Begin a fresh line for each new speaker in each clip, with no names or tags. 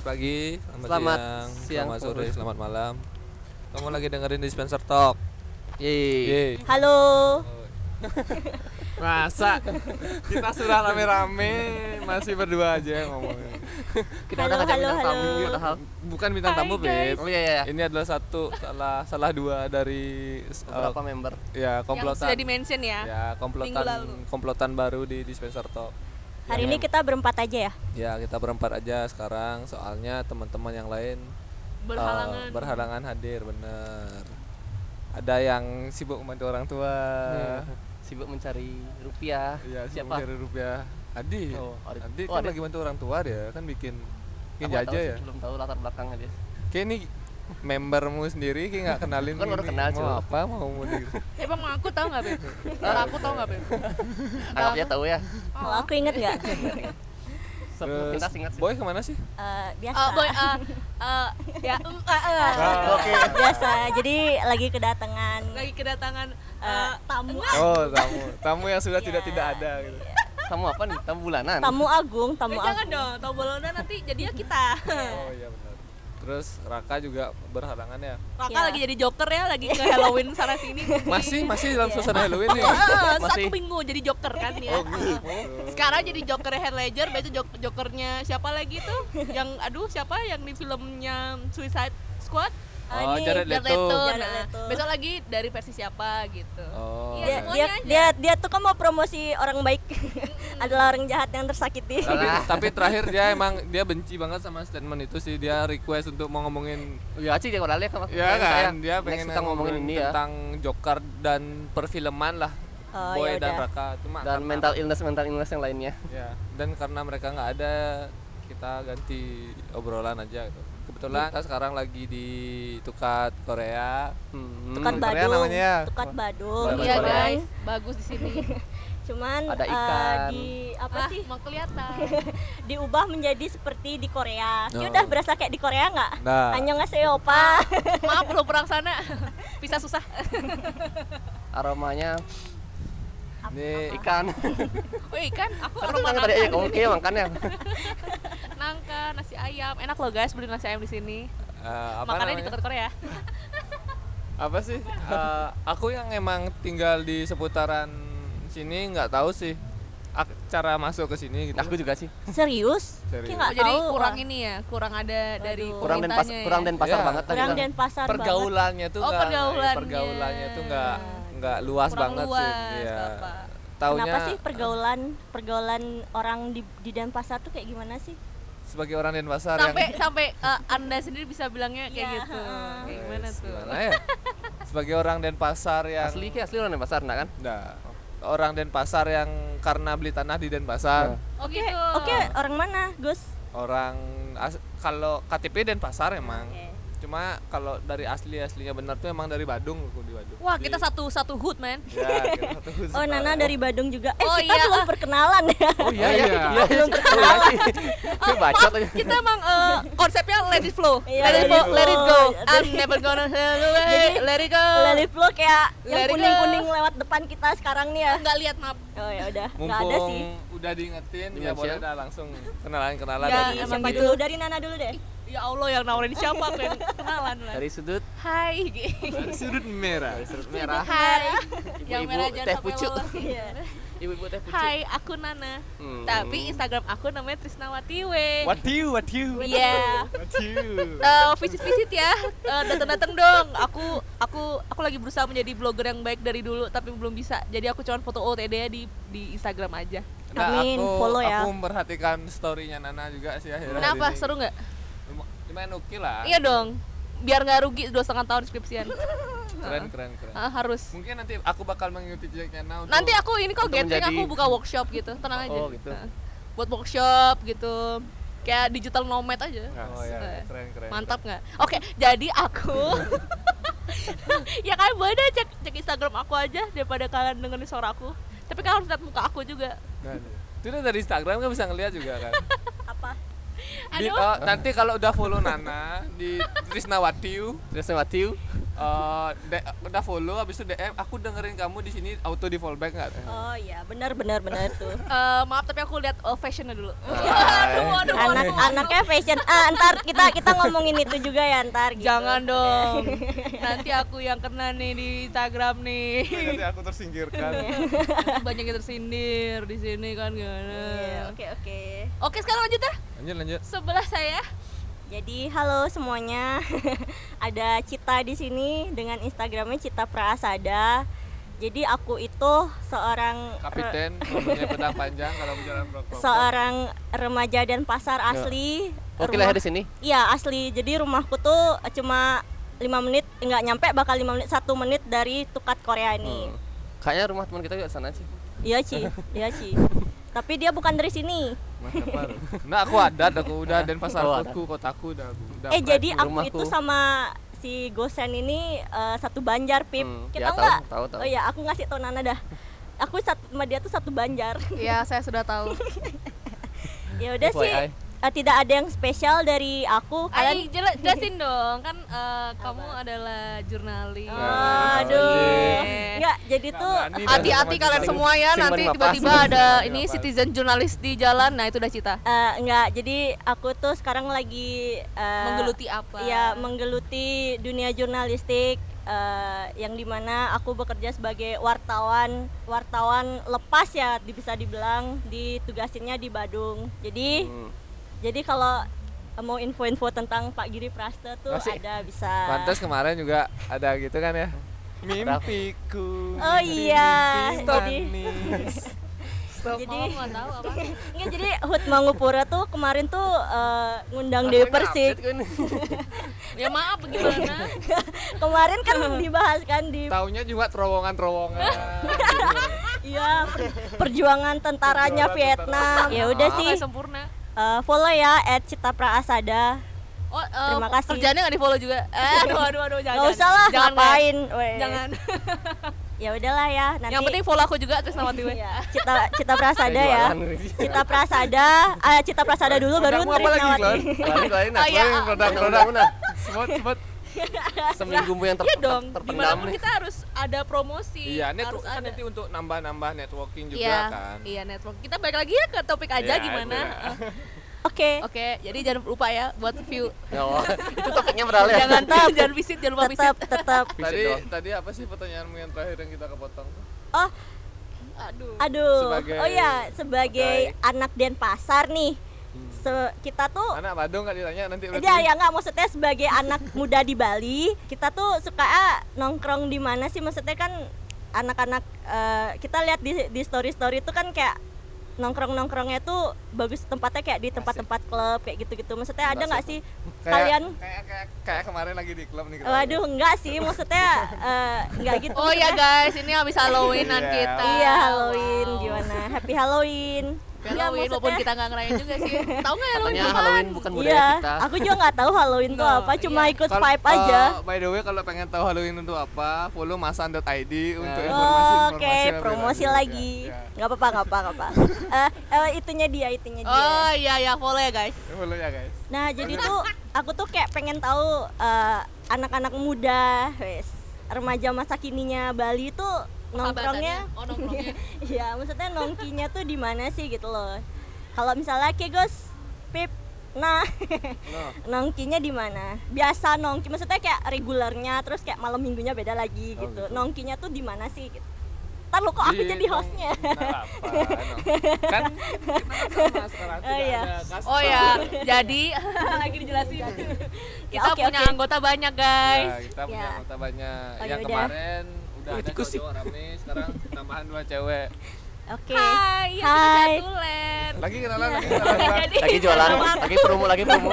pagi, selamat,
Selamat
siang,
siang,
selamat sore,
sore.
selamat malam. Kamu lagi dengerin Dispenser Talk.
Yeay.
Yeay.
Halo.
Masa kita sudah rame-rame masih berdua aja yang ngomong.
Kita udah
Halo,
ngajak
halo,
bintang tamu
halo.
padahal.
Bukan bintang
Hai,
tamu,
guys.
Beb.
Oh iya iya. iya.
Ini adalah satu salah salah dua dari s- uh,
Beberapa member.
ya
yang
komplotan.
sudah di mention ya.
ya,
minggu
komplotan
lalu.
komplotan baru di Dispenser Talk.
Hari ini kita berempat aja ya.
Ya, kita berempat aja sekarang soalnya teman-teman yang lain eh,
Berhalangan.
berhalangan hadir, bener. Ada yang sibuk membantu orang tua.
Sibuk mencari rupiah.
Iya,
Iya. Siapa?
Siapa? rupiah. Adi.
Oh, Arif.
Adi
Oh,
kan
Arif.
lagi bantu orang tua dia, kan bikin bikin
Aku nggak
jaja
tahu
ya.
sih, Belum tahu latar belakangnya dia.
Kayak ini membermu sendiri kayak nggak kenalin
Kan baru
ini
kenal,
mau
Cuk.
apa mau mau di
Eh bang, aku tahu nggak beb? Bang, aku tahu nggak beb?
Anggap dia tahu ya.
Kalau aku inget nggak?
Sebelum kita singkat sih.
Boy kemana sih?
Eh, biasa.
Eh, boy, eh, eh, ya, em, eh, eh.
Oke.
biasa. Jadi lagi kedatangan
lagi kedatangan
eh,
eh,
tamu
Oh, tamu. Tamu yang sudah tidak tidak
Iya.
ada gitu.
Tamu apa nih? Tamu bulanan.
tamu agung,
eh,
tamu
jangan
agung.
dong, tombolona nanti jadinya kita.
Oh iya benar.
Terus Raka juga berhalangan ya.
Raka
Ya.
lagi jadi joker ya, lagi ke Halloween sana sini.
Masih masih dalam suasana Halloween nih.
Eh, eh, satu
Masih. Oh, gitu.
minggu jadi joker kan ya. Sekarang jadi joker Heath Ledger, besok jok- jokernya siapa lagi tuh? Yang aduh siapa yang di filmnya Suicide Squad?
Ah,
Oh,
ini
Jared
Jared
Leto.
Leto.
Jared
Nah,
Leto.
besok lagi dari versi siapa gitu.
Oh. oke.
dia,
Iya,
dia,
semuanya aja. Hmm.
dia, dia tuh kan mau promosi orang baik adalah orang jahat yang tersakiti
tapi, tapi terakhir dia emang dia benci banget sama statement itu sih dia request untuk mau ngomongin
Ya sih dia kali ya kan.
Ya Iya. kan, dia pengen
kita ngomongin ini ya.
tentang Joker dan perfilman lah
Oh,
Boy
iya
dan
yaudah.
Raka cuma
Dan
karena-
mental illness mental illness yang lainnya.
ya dan karena mereka nggak ada kita ganti obrolan aja gitu. kebetulan kita sekarang lagi di Tukat Korea
Hmm.
tukat
Korea
badung
namanya ya?
tukat badung
Oh, Bagus,
Iya
cuman-
bagus.
guys, bagus di sini.
cuman
Ada
eh,
ikan.
di apa
ah,
sih
mau kelihatan.
diubah menjadi seperti di Korea
Oh.
ya udah berasa kayak di Korea nggak
Nah.
hanya ngasih opa
Maaf belum perang sana. Bisa susah.
Aromanya
ini
ikan.
Wih kan, aku
Kan
rumah
tadi tadi aja
nangka.
oke makannya.
Nangka, nasi ayam. Enak loh guys, beli nasi ayam di sini.
eh, apa
Makannya di
namanya?
dekat Korea.
apa sih Eh, aku yang emang tinggal di seputaran sini nggak tahu sih ak- cara masuk ke sini gitu
Nah, Aku juga sih.
serius,
Serius.
kayak
Oh,
nggak
jadi
tahu
kurang
wah.
ini ya, kurang ada dari
Kurang dan pas,
pemerintahnya ya.
kurang dan pasar
Iya.
banget
kurang
tadi kan.
dan pasar banget.
pergaulannya tuh
Oh,
nggak-
pergaulannya.
pergaulannya tuh nggak nggak luas
Kurang
banget sih
luas,
Iya.
apa.
taunya
Kenapa sih pergaulan pergaulan orang di di Denpasar tuh kayak gimana sih?
sebagai orang
ya.
Denpasar
sampai
yang
sampai eh, anda sendiri bisa bilangnya kayak
Iya,
gitu.
heeh.
Kayak gimana
Wes,
tuh?
gimana ya? sebagai orang Denpasar yang
Asli kayak asli orang dan pasar nah kan.
nah, orang Denpasar yang karena beli tanah di Denpasar
Oh
Oke,
gitu.
oke orang mana, Gus?
orang as- kalau KTP Denpasar emang
Oke.
Iya.
cuma kalau dari asli aslinya benar tuh emang dari Badung aku di Badung
Wah, kita satu satu hood, man.
ya, kita satu khusus.
Oh Nana dari Badung juga. Eh
Oh,
kita
iya.
belum perkenalan ya.
Oh iya iya.
Iya.
Belum perkenalan. Gue bacot aja.
Oh, Kita emang eh, konsepnya let it flow.
Iya, let
let, it
it
flow, let it go.
flow.
I'm never gonna let
Jadi,
let it go.
iya.
Lali Flo kayak
Let
yang
it go.
kuning-kuning lewat depan kita sekarang nih ya.
Enggak Iya, lihat map.
Oh ya udah, nggak ada
mumpung
sih.
udah diingetin ya
Dimension.
boleh dah langsung kenalan kenalan
Ya,
Dari
emang
siapa
gitu.
dulu? Dari Nana dulu deh.
Ya Allah yang nawarin siapa aku yang kenalan lah.
Dari sudut
Hai. gitu.
Dari sudut merah.
dari sudut merah.
Hai. yang
Ibu-ibu
merah
teh
jangan sampai
pucuk.
lolos.
Iya.
Ibu-ibu teh pucuk.
Hai, aku Nana.
Hmm.
Tapi Instagram aku namanya Trisnawati we.
What do you what do you
Iya.
what do you?
Eh, visit-visit ya Eh, datang-datang dong aku aku aku lagi berusaha menjadi blogger yang baik dari dulu tapi belum bisa jadi aku cuma foto OTD ya di di Instagram aja
Amin,
aku,
follow ya.
Aku memperhatikan story-nya Nana juga sih akhirnya.
kenapa seru nggak
Lumayan oke lah.
iya dong biar nggak rugi dua setengah tahun skripsian
Keren, keren, keren.
Ah, harus
Mungkin nanti aku bakal mengikuti jejaknya Nana untuk
nanti aku ini kok
Untuk
gathering
menjadi-
aku buka workshop gitu tenang aja
Oh, gitu.
Ah. buat workshop gitu kayak digital nomad aja
Nah,
Oh ya,
Eh,
keren, keren.
mantap nggak oke jadi aku ya kalian boleh deh cek cek Instagram aku aja daripada kalian dengerin suara aku tapi kalian harus lihat muka aku juga
Nah, itu udah dari Instagram kan bisa ngeliat juga kan.
Apa?
Di- eh,
aduh
uh,
oh, nanti kalau udah follow Nana di Trisnawati
Terus sama Tiu.
eh, de- udah follow habis itu DM aku dengerin kamu di sini auto di fallback nggak
Oh iya, benar benar benar tuh.
Eh, maaf tapi aku lihat eh, fashionnya dulu.
Ah, Hai.
aduh, aduh, aduh.
Anak-anaknya fashion. Ah, ntar kita kita ngomongin itu juga ya ntar gitu.
Jangan dong. Nanti aku yang kena nih di Instagram nih.
Nanti aku tersingkirkan.
Banyak yang tersindir di sini kan gimana.
Iya, Oke oke.
Oke, sekarang lanjut ya.
lanjut lanjut
Sebelah saya.
Jadi halo semuanya. Ada Cita di sini dengan Instagramnya Cita Prasada. Jadi aku itu seorang eh,
kapiten kalau punya pedang panjang kalau bicara rokok
seorang remaja dan pasar asli.
Ya. Oke
Rumah-
lah di sini.
Iya asli. Jadi rumahku tuh cuma lima menit nggak nyampe bakal lima menit satu menit dari Tukat Korea ini.
Hmm. Kayaknya rumah teman kita juga di sana sih.
Iya Ci, iya Ci. Tapi dia bukan dari sini.
nah aku adat aku udah dan pasar
Oh,
kotaku kotaku udah aku udah
eh
di
jadi aku
rumahku.
itu sama si Gosen ini eh, satu Banjar Pip.
Hmm, ya,
Kita
tahu,
nggak?
tahu, tahu.
Oh iya, aku ngasih tau Nana dah. Aku sat- sama dia tuh satu Banjar.
Iya, saya sudah tahu.
ya udah sih.
FYI.
eh, tidak ada yang spesial dari aku. Kalian
Ay, jela- jelasin dong kan eh, kamu adalah jurnalis.
Oh,
Oh.
Aduh. Enggak, jadi tuh
berani dah.
Hati-hati kalian semua ya
Sing
nanti
paling lepas.
tiba-tiba ada ini citizen jurnalis di jalan. Nah, itu udah cita.
eh, enggak, jadi aku tuh sekarang lagi eh,
Menggeluti apa?
ya menggeluti dunia jurnalistik eh, yang dimana aku bekerja sebagai wartawan wartawan lepas ya di- bisa dibilang ditugasinnya di Badung jadi
Hmm.
jadi kalau mau info-info tentang Pak Giri Prasta tuh
Masih?
ada bisa
pantas kemarin juga ada gitu kan ya
Mimpiku.
Oh iya,
mimpi
jadi
manis.
jadi
Jadi nggak tahu apa.
nggak, jadi Hut Mangupura tuh kemarin tuh eh, ngundang Dewi Persik
Ya maaf gimana?
kemarin kan dibahas kan di
taunya juga terowongan-terowongan
iya per- perjuangan tentaranya Vietnam ya udah
Nggak
sih
sempurna.
Eh, follow ya at Cita Praasada
Oh, eh,
Terima kasih.
Kerjanya nggak di follow juga. Eh, aduh, aduh, aduh, jangan.
nggak usah lah
jangan,
ngapain weh.
Web. Jangan.
ya udahlah ya nanti
Yang penting follow aku juga terus nama gue.
ya, Cita Cita Prasada ya Cita Prasada eh, Cita Prasada dulu baru
Kamu apa lagi
Trisnawati
Glenn?
Lain-lain
Oh, iya.
produk-produk.
semut semut
Seminggu yang ter
Iya dong.
terpendam
Dimanapun
nih.
kita harus ada promosi.
iya ini tuh
harus
kan nanti untuk nambah-nambah networking juga
iya,
kan
Iya, network. Kita balik lagi ya ke topik aja
Iya,
gimana.
iya.
Eh. oke
Oke, jadi jangan lupa ya buat view.
Ya, wah, itu topiknya beralih. ya.
jangan tetap jangan visit, jangan lupa visit.
tetap tetap
tadi
doang.
tadi apa sih pertanyaanmu yang terakhir yang kita kepotong tuh?
oh
Aduh.
aduh
Sebagai-
oh ya sebagai anak Denpasar nih se- kita tuh
Hmm. anak Badung kan ditanya nanti berarti
Oh. Ya, ya nggak maksudnya sebagai anak muda di Bali, kita tuh suka ah, nongkrong di mana sih? Maksudnya kan anak-anak eh, kita lihat di di story-story itu kan kayak nongkrong-nongkrongnya tuh bagus tempatnya kayak di tempat-tempat klub kayak gitu-gitu. Maksudnya ada nggak sih
Kayak-
kalian?
kayak kayak kayak kemarin lagi di klub nih kita.
Waduh, enggak sih. Maksudnya eh, nggak gitu.
Oh ya
maksudnya.
guys, ini habis Halloweenan
Iya.
kita.
Iya, Halloween
Wow.
gimana? Happy Halloween.
Happy Halloween walaupun kita nggak ngerayain juga sih. Tahu nggak Halloween
Pokoknya
kapan?
Halloween bukan budaya
Iya,
kita.
aku juga nggak tahu Halloween tuh
No,
apa, cuma
iya.
ikut
Kal-
vibe
eh,
aja.
by the way kalau pengen tahu Halloween itu apa, follow masan.id untuk
Oke,
informasi
Oh, Oke, promosi lagi.
Ya,
Nggak apa-apa, nggak apa-apa, nggak apa. Eh, eh, itunya dia, itunya dia.
Oh iya ya follow ya guys.
Follow ya guys.
Nah, jadi tuh aku tuh kayak pengen tahu eh, anak-anak muda, wes, remaja masa kininya Bali tuh nongkrongnya,
Sahabatannya. Oh nongkrongnya.
ya maksudnya nongkinya tuh di mana sih gitu loh. Kalau misalnya kayak Gus, Pip, nah nongkinya di mana? Biasa nongki, maksudnya kayak regulernya, terus kayak malam minggunya beda lagi
Oh,
gitu.
gitu.
Nongkinya tuh di mana sih? Gitu. Ntar lo kok aku
Iya,
jadi
Gitu.
hostnya?
kan kita sama sekarang
Oh,
tidak
iya.
ada kas-
Oh ya, jadi iya. lagi dijelasin. Kita
Ya, oke,
punya
oke.
anggota banyak
Ya,
guys.
kita punya
Ya.
anggota banyak.
Oh,
yang
yaudah.
kemarin udah ada
tikus sih.
cowok rame, sekarang tambahan dua cewek.
Oke.
Hai, ya
gitu. Hai.
kita tulen.
Lagi
Iya.
kenalan, lagi kenalan.
Jadi
Lagi jualan, lagi promo, lagi promo.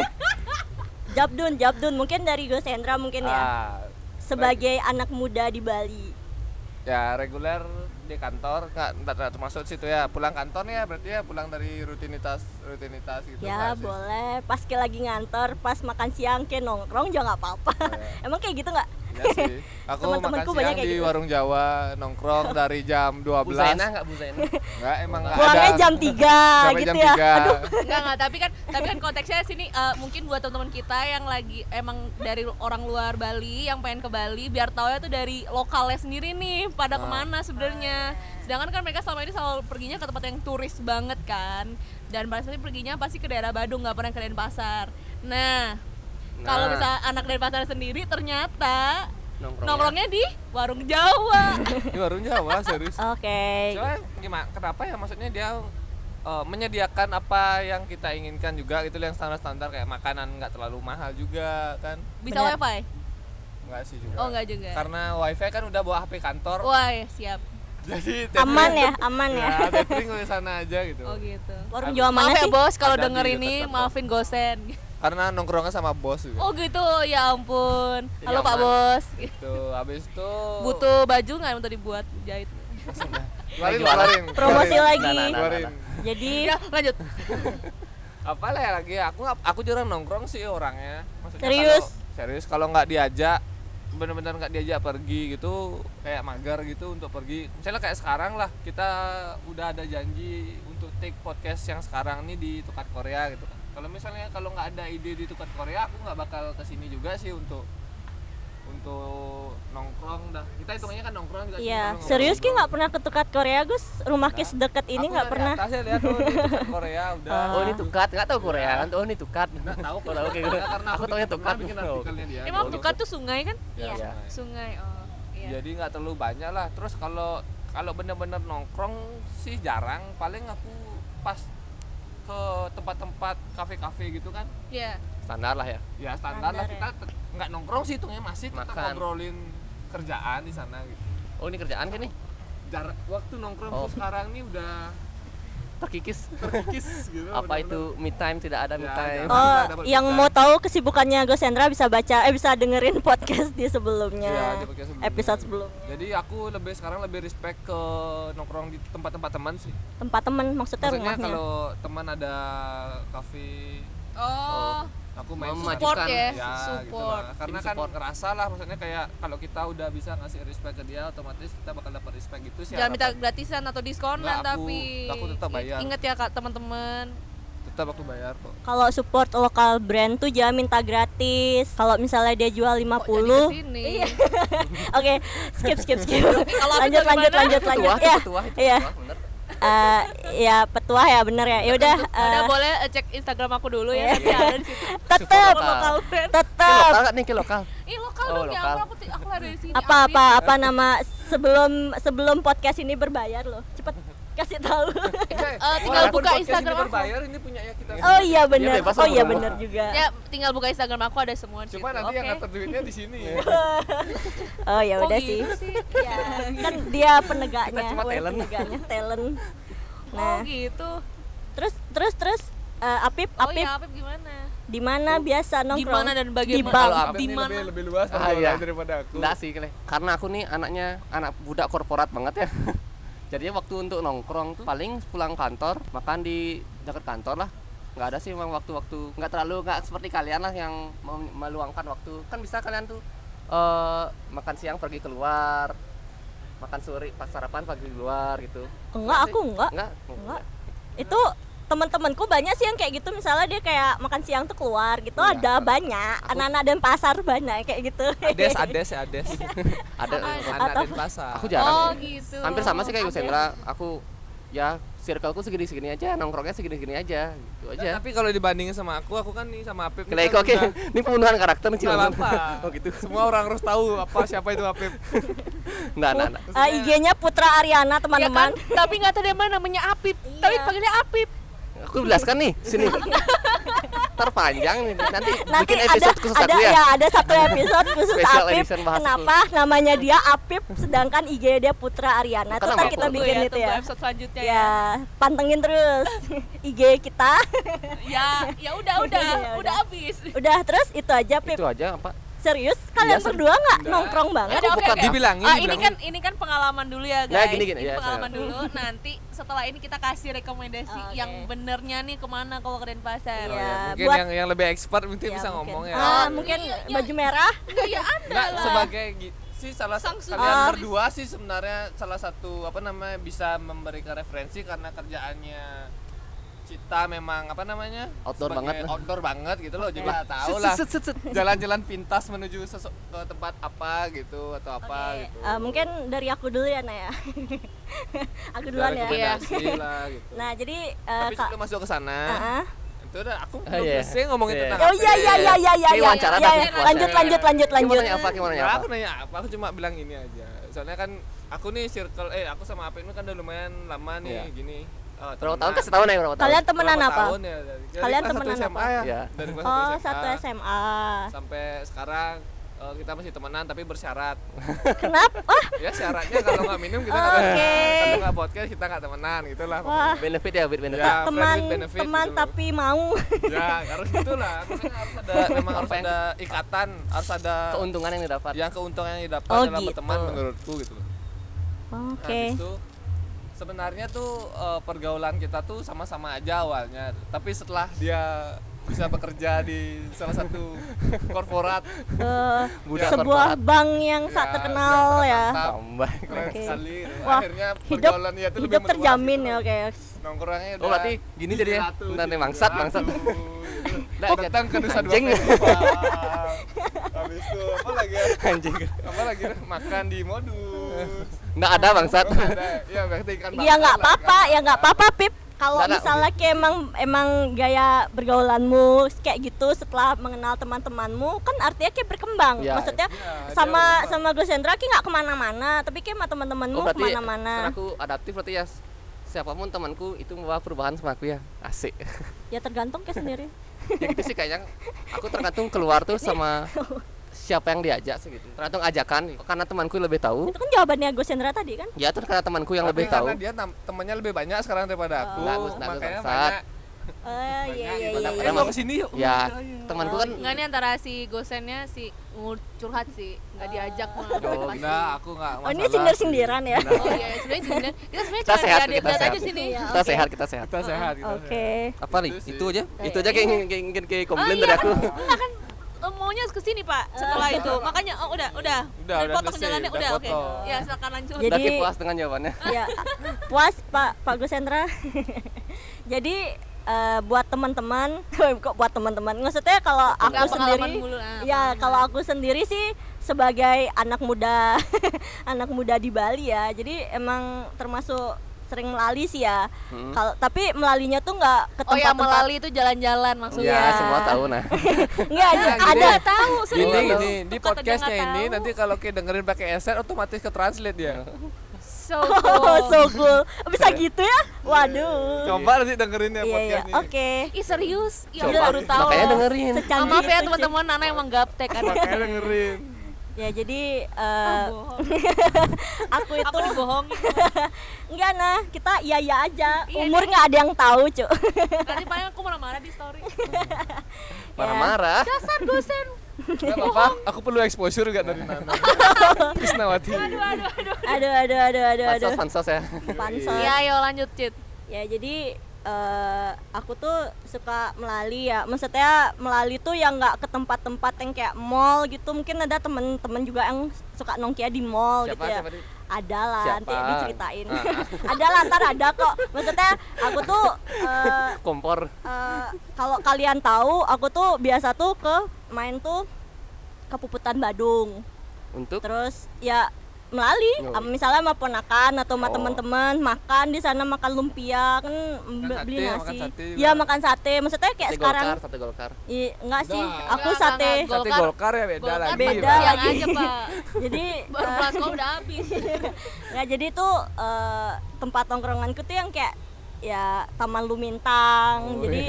Jabdun, Jabdun mungkin dari Gus Hendra mungkin ya
Ah,
sebagai anak muda di Bali.
ya reguler di kantor nggak nggak- nggak termasuk situ ya pulang kantor nih ya berarti ya pulang dari rutinitas rutinitas gitu nggak
ya
sih?
boleh pas ke lagi ngantor pas makan siang ke nongkrong juga nggak apa-apa emang kayak gitu nggak
Iya sih. Aku makan
Teman-temanku
siang
banyak kayak
di
gitu.
warung Jawa nongkrong dari jam 12
Bu Zaina nggak Bu Zaina?
Enggak, emang nggak
pulangnya
ada
jam 3
sampai
gitu
jam
ya
3.
aduh
Enggak enggak, tapi kan tapi kan konteksnya sini eh, mungkin buat teman-teman kita yang lagi emang dari orang luar Bali yang pengen ke Bali biar tahu ya tuh dari lokalnya sendiri nih pada kemana sebenarnya. Sedangkan kan mereka selama ini selalu perginya ke tempat yang turis banget kan. Dan pasti perginya pasti ke daerah Badung nggak pernah ke Denpasar. Nah, kalau
Nah.
bisa anak Denpasar sendiri ternyata
Nongkrongnya.
nongkrongnya di warung Jawa.
di warung Jawa serius.
oke
Soalnya gimana? Kenapa ya maksudnya dia eh, menyediakan apa yang kita inginkan juga gitu yang standar-standar kayak makanan nggak terlalu mahal juga kan?
Bisa
Benar.
wifi?
Enggak sih juga.
Oh, enggak juga.
Karena wifi kan udah bawa HP kantor.
Wah, ya, siap.
Jadi
aman ya aman ya
Nah, tethering ke sana aja gitu.
Oh gitu.
warung Jawa mana
Iya. Maaf ya
sih
bos kalau
Ada di
denger
dekat
ini
kantor.
maafin gosen.
Karena nongkrongnya sama bos gitu.
Oh gitu, ya ampun.
Jadi
Halo Pak
aman.
Bos.
Gitu. Habis itu
Butuh baju nggak untuk dibuat jahit?
keluarin
Jualan.
keluarin.
promosi
keluarin.
Nah,
lagi
nah, nah.
Keluarin.
jadi
Ya lanjut.
apa lah ya lagi aku nggak- aku jarang nongkrong sih orangnya Maksudnya
Serius?
kalau- serius kalau nggak diajak bener-bener nggak diajak pergi gitu kayak mager gitu untuk pergi misalnya kayak sekarang lah kita udah ada janji untuk take podcast yang sekarang nih di Tukat Korea gitu kan kalau misalnya kalau nggak ada ide di Tukat Korea aku nggak bakal kesini juga sih untuk untuk nongkrong dah kita hitungannya kan nongkrong juga sih,
Iya,
nongkrong,
serius ki
nongkrong.
nggak pernah ketukat Korea Gus? Rumah ki sedekat ini
Aku
nggak
dari
pernah.
atas ya lihat tuh di Tukat Korea udah
Oh ini tukat, nggak tahu Korea kan? Oh ini tukat.
Nggak tahu
Oh, oke, oke.
karena
Aku taunya
pernah
tukat.
bikin
Oh,
artikelnya dia.
Emang
Dulu.
dekat tuh sungai kan?
Ya,
Iya.
sungai.
Sungai. Oh. Iya.
Jadi nggak terlalu banyak lah. Terus kalau kalau bener-bener nongkrong sih jarang. Paling aku pas ke tempat-tempat kafe-kafe gitu kan.
Iya.
Standar lah ya.
Ya standar lah
Standar ya.
kita tet- nggak nongkrong sih hitungnya masih tetap
Makan.
ngobrolin kerjaan di sana gitu.
Oh ini kerjaan kan nih?
Jarak waktu nongkrong
Oh.
tuh sekarang nih udah
Terkikis.
terkikis gitu.
Apa itu me time tidak ada me
Ya, jangan.
time? Oh,
Oh,
Nggak dapat
yang
kita.
mau tahu kesibukannya Gus Hendra bisa baca eh bisa dengerin podcast di sebelumnya.
Iya, di podcast sebelumnya.
Episode sebelumnya.
Jadi aku lebih sekarang lebih respect ke nongkrong di tempat-tempat teman sih.
Tempat temen maksudnya,
Maksudnya
rumahnya.
kalau teman ada kafe
Oh.
aku main di sana.
Memajukan.
Support ya,
Ya, gitu
support.
lah. karena
Tim
kan
support.
ngerasa lah maksudnya kayak kalau kita udah bisa ngasih respect ke dia otomatis kita bakal dapat respect gitu sih
Jangan minta
harapan.
gratisan atau diskonan
Nggak, aku-
tapi.
aku tetap bayar.
Ingat ya kak teman-teman.
tetap aku bayar kok
Kalau support lokal brand tuh jangan minta gratis. Kalau misalnya dia jual 50.
Kok jadi kesini?
Oke, skip skip skip.
kalau aku
lanjut, lanjut,
gimana?
lanjut lanjut
Petuah, itu
Ya.
petuah, itu
Iya.
petuah, bener.
Eh, ya petua ya bener ya. Ya udah
Ada
eh,
boleh eh, cek Instagram aku dulu ya.
Iya.
nanti ada di situ.
tetep
Support lokal.
brand.
Ke
tetep
lokal nggak nih ke lokal?
Ih lokal
Oh,
dong ya
lokal.
ampun, aku ti- aku lari dari sini.
apa
Afif.
apa apa nama sebelum sebelum podcast ini berbayar loh cepet kasih tahu
Eh, tinggal
Walaupun
buka
podcast
Instagram
ini
aku. Eh,
berbayar ini punyanya kita
oh iya benar
bebas
oh iya
sama
benar
orang.
juga
Ya tinggal buka Instagram aku ada semua di
cuma
situ,
nanti yang
gitu, oke?
ngatur duitnya di sini
oh ya
Kok
udah sih
gitu sih.
ya kan dia penegaknya
Kita cuma
gua
talent.
penegaknya talent
Oh
nah
gitu.
terus terus terus eh, Apip
Oh
Apip
iya, Apip gimana?
di mana biasa nongkrong
Gimana dan
di
bagaimana?
bank
Kalau
Tapi
di
ini
mana?
lebih, lebih luas
Ah, iya.
pengetahuannya daripada aku
Enggak sih, Kle. karena aku nih anaknya anak budak korporat banget ya. Jadinya waktu untuk nongkrong tuh paling pulang kantor, makan di dekat kantor lah. Nggak ada sih memang waktu-waktu nggak terlalu nggak seperti kalian lah yang mem- meluangkan waktu. Kan bisa kalian tuh eh, makan siang pergi keluar, makan sore pas sarapan pagi keluar gitu.
enggak aku enggak
Enggak,
enggak itu teman-temanku banyak sih yang kayak gitu misalnya dia kayak makan siang tuh keluar gitu
Iya,
ada
aku-
banyak anak-anak dan pasar banyak kayak gitu
ades ades ya ades
Ada
anak dan pasar
aku
Oh
jarang. sih.
gitu.
Hampir sama sih kayak Gus Hendra. Aku ya circleku segini-segini aja, nongkrongnya segini-segini aja, gitu aja.
tapi kalau dibandingin sama aku aku kan nih sama Apip
Kena
nih kan
Eko, oke.
udah-
Ini pembunuhan karakter nih, Cil.
Nggak apa-apa.
Oh gitu.
semua orang harus tahu apa siapa itu Apip
Enggak, enggak, enggak.
Eh, IG-nya Putra Ariana
Iya kan?
teman-teman.
Tapi nggak tahu dia mana namanya Apip.
Iya.
Tapi panggilnya Apip.
Aku jelaskan nih, sini. Terpanjang nih, nanti,
Nanti
bikin episode
ada
khusus
ada
aku ya.
ya, ada satu episode khusus
Special
Apip.
edition bahas
Kenapa namanya dia Apip sedangkan IG dia Putra Ariana.
Karena
Tetap
mampu.
kita
Tunggu
bikin
ya,
itu
tunggu
ya.
episode selanjutnya ya.
Ya, pantengin terus IG kita.
Ya, ya udah udah,
Iya,
udah
udah.
habis.
Udah terus itu aja Pip.
Itu Iya, aja apa?
serius kalian
Biasa.
berdua nggak nongkrong banget
Ada oke
bukan
oke.
dibilangin,
Ah, ini
dibilangin.
kan ini kan pengalaman dulu ya
Nah,
guys.
gini, gini,
ini
ya,
pengalaman
saya-
dulu. Nanti setelah ini kita kasih rekomendasi
Oke.
yang benernya nih kemana kalau ke Denpasar.
Oh,
Iya.
Oh, mungkin
buat-
yang yang lebih expert mungkin
Ya,
bisa
mungkin.
ngomong ya
ah, mungkin baju merah
Iya anda
Enggak
lah.
sebagai gi- sih salah
Sang
satu
sutris.
kalian
Ah.
berdua sih sebenarnya salah satu apa namanya bisa memberikan referensi karena kerjaannya Cita memang apa namanya
Outdoor
sebagai
banget lah.
outdoor banget gitu loh jadi
Lah,
tahu
set,
lah
set, set, set.
jalan-jalan pintas menuju sesu- ke tempat apa gitu atau apa
Oke,
gitu
Ah, mungkin dari aku dulu ya Naya aku duluan ya
Iya.
rekomendasi lah gitu
nah jadi eh,
tapi
Kak-
sebelum masuk ke sana
Ah, ah.
itu udah aku
Ah,
belum
iya.
selesai ngomongin
Iya.
tentang ya?
oh iya iya iya iya iya
Kayak
iya
wawancara
iya,
tapi
iya.
wawancara.
lanjut lanjut lanjut
Kamu
lanjut
nanya apa? Kamu nanya
Nggak,
apa?
Nah, aku nanya apa? Aku cuma bilang ini aja. Soalnya kan aku nih circle eh aku sama Apin kan udah lumayan lama nih
Iya.
gini. Oh,
Berapa tahun?
temenan.
Kasih tahun aja berapa tahun?
kalian temenan
Berapa
apa
tahun ya? Dari- dari
Kalian
kelas satu
temenan
SMA
apa?
ya?
Iya.
Dari kelas
oh
satu
satu
SMA
SMA
sampai sekarang eh, kita masih temenan tapi bersyarat.
kenapa oh
ya syaratnya kalau nggak minum kita nggak
Oke. Oh.
temenan. Kalau nggak podcast kita nggak temenan gitu lah.
wah
Benefit ya, benefit.
Ya, friend
teman
with benefit
teman
gitu.
tapi mau
Ya harus gitulah. Maksudnya harus ada memang harus ada ikatan, harus ada
Keuntungan yang didapat.
yang keuntungan yang didapat
Oh,
dalam
gitu.
berteman menurutku gitu loh.
oke
Nah, Habis itu sebenarnya tuh eh, pergaulan kita tuh sama-sama aja awalnya, tapi setelah dia bisa bekerja di salah satu korporat
Eh,
Budak
sebuah
korporat.
bank yang sangat
ya,
terkenal
yang
ya
sangat mantap,
Tambah.
keren
Oke.
sekali.
Wah,
Akhirnya
hidup
pergaulannya tuh lebih
hidup
meluas
terjamin
gitu.
ya oke
Nongkrongnya udah gitu.
Oh, berarti gini jadinya. Bentar nih, mangsat, mangsat. Nah, jadi-
Datang ke Nusa Dua
Anjing.
Festival. Habis itu apa lagi ya?
Anjing.
Apa lagi? ya? Makan di modus.
Enggak ada bangsat.
Oh, ada. Ya, berarti ikan bakar
ya
lah, kan?
nggak
ikan
apa-apa ya nggak apa-apa pip kalau
Nggak, nggak.
misalnya kayak emang emang gaya bergaulanmu kayak gitu setelah mengenal teman-temanmu kan artinya kayak berkembang
Ya,
maksudnya
iya,
sama sama Gus Hendra kayak nggak kemana-mana tapi kayak sama teman-temanmu
Oh, berarti karena
kemana-mana
aku adaptif berarti ya siapapun temanku itu membawa perubahan sama aku ya. Asik.
ya tergantung kayak sendiri
ya gitu sih kayaknya aku tergantung keluar tuh sama siapa yang diajak sih gitu. Tergantung ajakan karena temanku lebih tahu.
itu kan jawabannya Gus Hendra tadi kan
Ya terus karena temanku yang
Tapi
lebih tahu.
karena dia nam- temennya lebih banyak sekarang daripada aku
Nggak, Gus, nggak, Gus,
makanya
bangsat.
banyak
oh iya iya iya,
Eh,
Karena
mau
mak-
kesini yuk
Ya, temanku kan
Nggak nih antara si gosennya si ngur- curhat sih nggak
Ah.
diajak malah
Oh,
pasti.
enggak, aku enggak
oh ini
masalah.
sindir-sindiran ya
Oh iya, iya, sebenarnya sebenarnya kita sebenarnya
Kita
cuma
sehat, kita
lihat lihat
sehat.
aja Oh, sini.
Iya.
kita sehat, kita sehat.
Kita sehat kita
oke
sehat.
Apa nih?
Itu
Itu aja.
Eh,
Itu aja kayak ingin kayak ingin kayak
Oh,
komplain
iya.
dari aku.
iya. Enggak kan eh, maunya ke sini Pak setelah itu. Makanya oh udah udah.
Udah,
Dan
udah
potong
selesai,
jalannya
udah
udah oke.
potong.
Ya silakan lanjut.
Jadi-
Berarti puas dengan jawabannya.
ya puas Pak Pak Gus Hendra. Jadi eh, buat teman-teman, kok buat teman-teman? Maksudnya kalau aku
Enggak, pengalaman
sendiri,
mulu, ah,
ya kalau aku sendiri sih sebagai anak muda, anak muda di Bali ya. Jadi emang termasuk sering melali sih ya.
Hmm.
Kalau tapi melalinya tuh nggak ke
Oh ya
tempat-tempat.
melali itu jalan-jalan
Iya.
maksudnya.
Ya, semua tahu nah.
Nggak, ada.
Nggak tahu serius.
Iya, Gini gini, di
Tuh kata dia
podcastnya
nggak
ini
tahu.
nanti kalau kayak dengerin pakai headset otomatis ke translate dia.
So
Oh, so cool. Bisa gitu ya? Waduh.
Coba nanti dengerin ya
Iya, iya.
podcast ini.
Oke.
Ih serius, ya
Coba.
baru tahu.
Makanya dengerin.
Ah,
Secanggih
maaf ya
itu, Ci.
teman-teman, Nana emang gaptek kan.
Makanya dengerin.
Ya jadi eh,
Bohong.
aku
Aku
itu
dibohongin.
Enggak nah, kita iya iya aja.
Iya,
Umur nggak ada yang tahu, Cuk.
Nanti paling aku marah-marah di story.
Marah-marah.
Iya.
Dasar dosen.
Enggak apa-apa, aku perlu exposure enggak dari Nana? Krisnawati.
Aduh aduh aduh.
aduh aduh aduh aduh aduh.
Pansos, pansos ya.
Pansos.
Ya ayo lanjut, Cit.
Ya jadi eh, aku tuh suka melali ya. Maksudnya melali tuh yang nggak ke tempat-tempat yang kayak mall gitu. Mungkin ada temen-temen juga yang suka nongkia di mall
Siapa,
gitu ya.
siapa di-
ada lah nanti
Siapa?
diceritain. ada lah ntar ada kok. Maksudnya aku tuh eh,
Kompor.
Eh, kalau kalian tahu aku tuh biasa tuh ke main tuh ke Puputan Badung
Untuk
terus ya melali
Oh.
Am- misalnya sama ponakan atau sama
Oh.
teman-teman makan di sana makan lumpia kan be-
sate,
beli nasi
makan sate juga.
ya makan sate maksudnya kayak
sate
sekarang
golkar, sate golkar.
i, enggak sih
Enggak.
aku
Enggak,
sate
enggak, enggak.
Tapi
Golkar-
Golkar ya beda
Golkar
lagi.
beda
Pak.
Siang
lagi.
aja, Pak.
jadi
Baru
eh,
kelas kau udah habis.
Nah jadi tuh eh, tempat tongkronganku tuh yang kayak ya Taman Lumintang.
Oh,
Jadi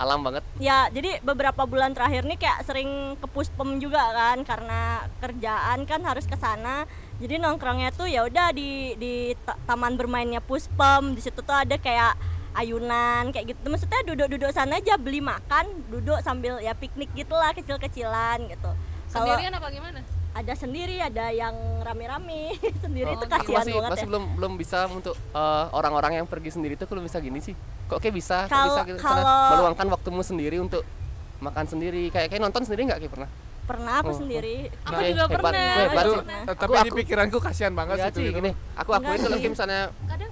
Alam banget.
ya jadi beberapa bulan terakhir nih kayak sering ke puspem juga kan karena kerjaan kan harus ke sana. Jadi nongkrongnya tuh ya udah di di ta- taman bermainnya puspem. Di situ tuh ada kayak ayunan kayak gitu. Maksudnya duduk-duduk sana aja beli makan, duduk sambil ya piknik gitulah kecil-kecilan gitu. Kalau
Sendirian apa gimana?
ada sendiri, ada yang rame-rame sendiri
Oh,
itu
gitu.
Aku
kasihan
masih
banget
masih
ya.
belum belum bisa untuk eh, orang-orang yang pergi sendiri tuh belum bisa gini sih kok kayak bisa kok
Kalau-
bisa gitu cara
kalau-
meluangkan waktumu sendiri untuk makan sendiri kayak kayak nonton sendiri nggak kayak pernah
Pernah aku
Oh,
sendiri.
Aku
Nah,
juga
hebat.
pernah.
Gue hebat
aku
sih.
pernah.
Eh, tapi
Aku-
di
aku-
pikiranku kasihan banget
Iya
sih itu
sih
gitu.
gini aku
Enggak
akuin kalau
sih.
kayak misalnya
Kadang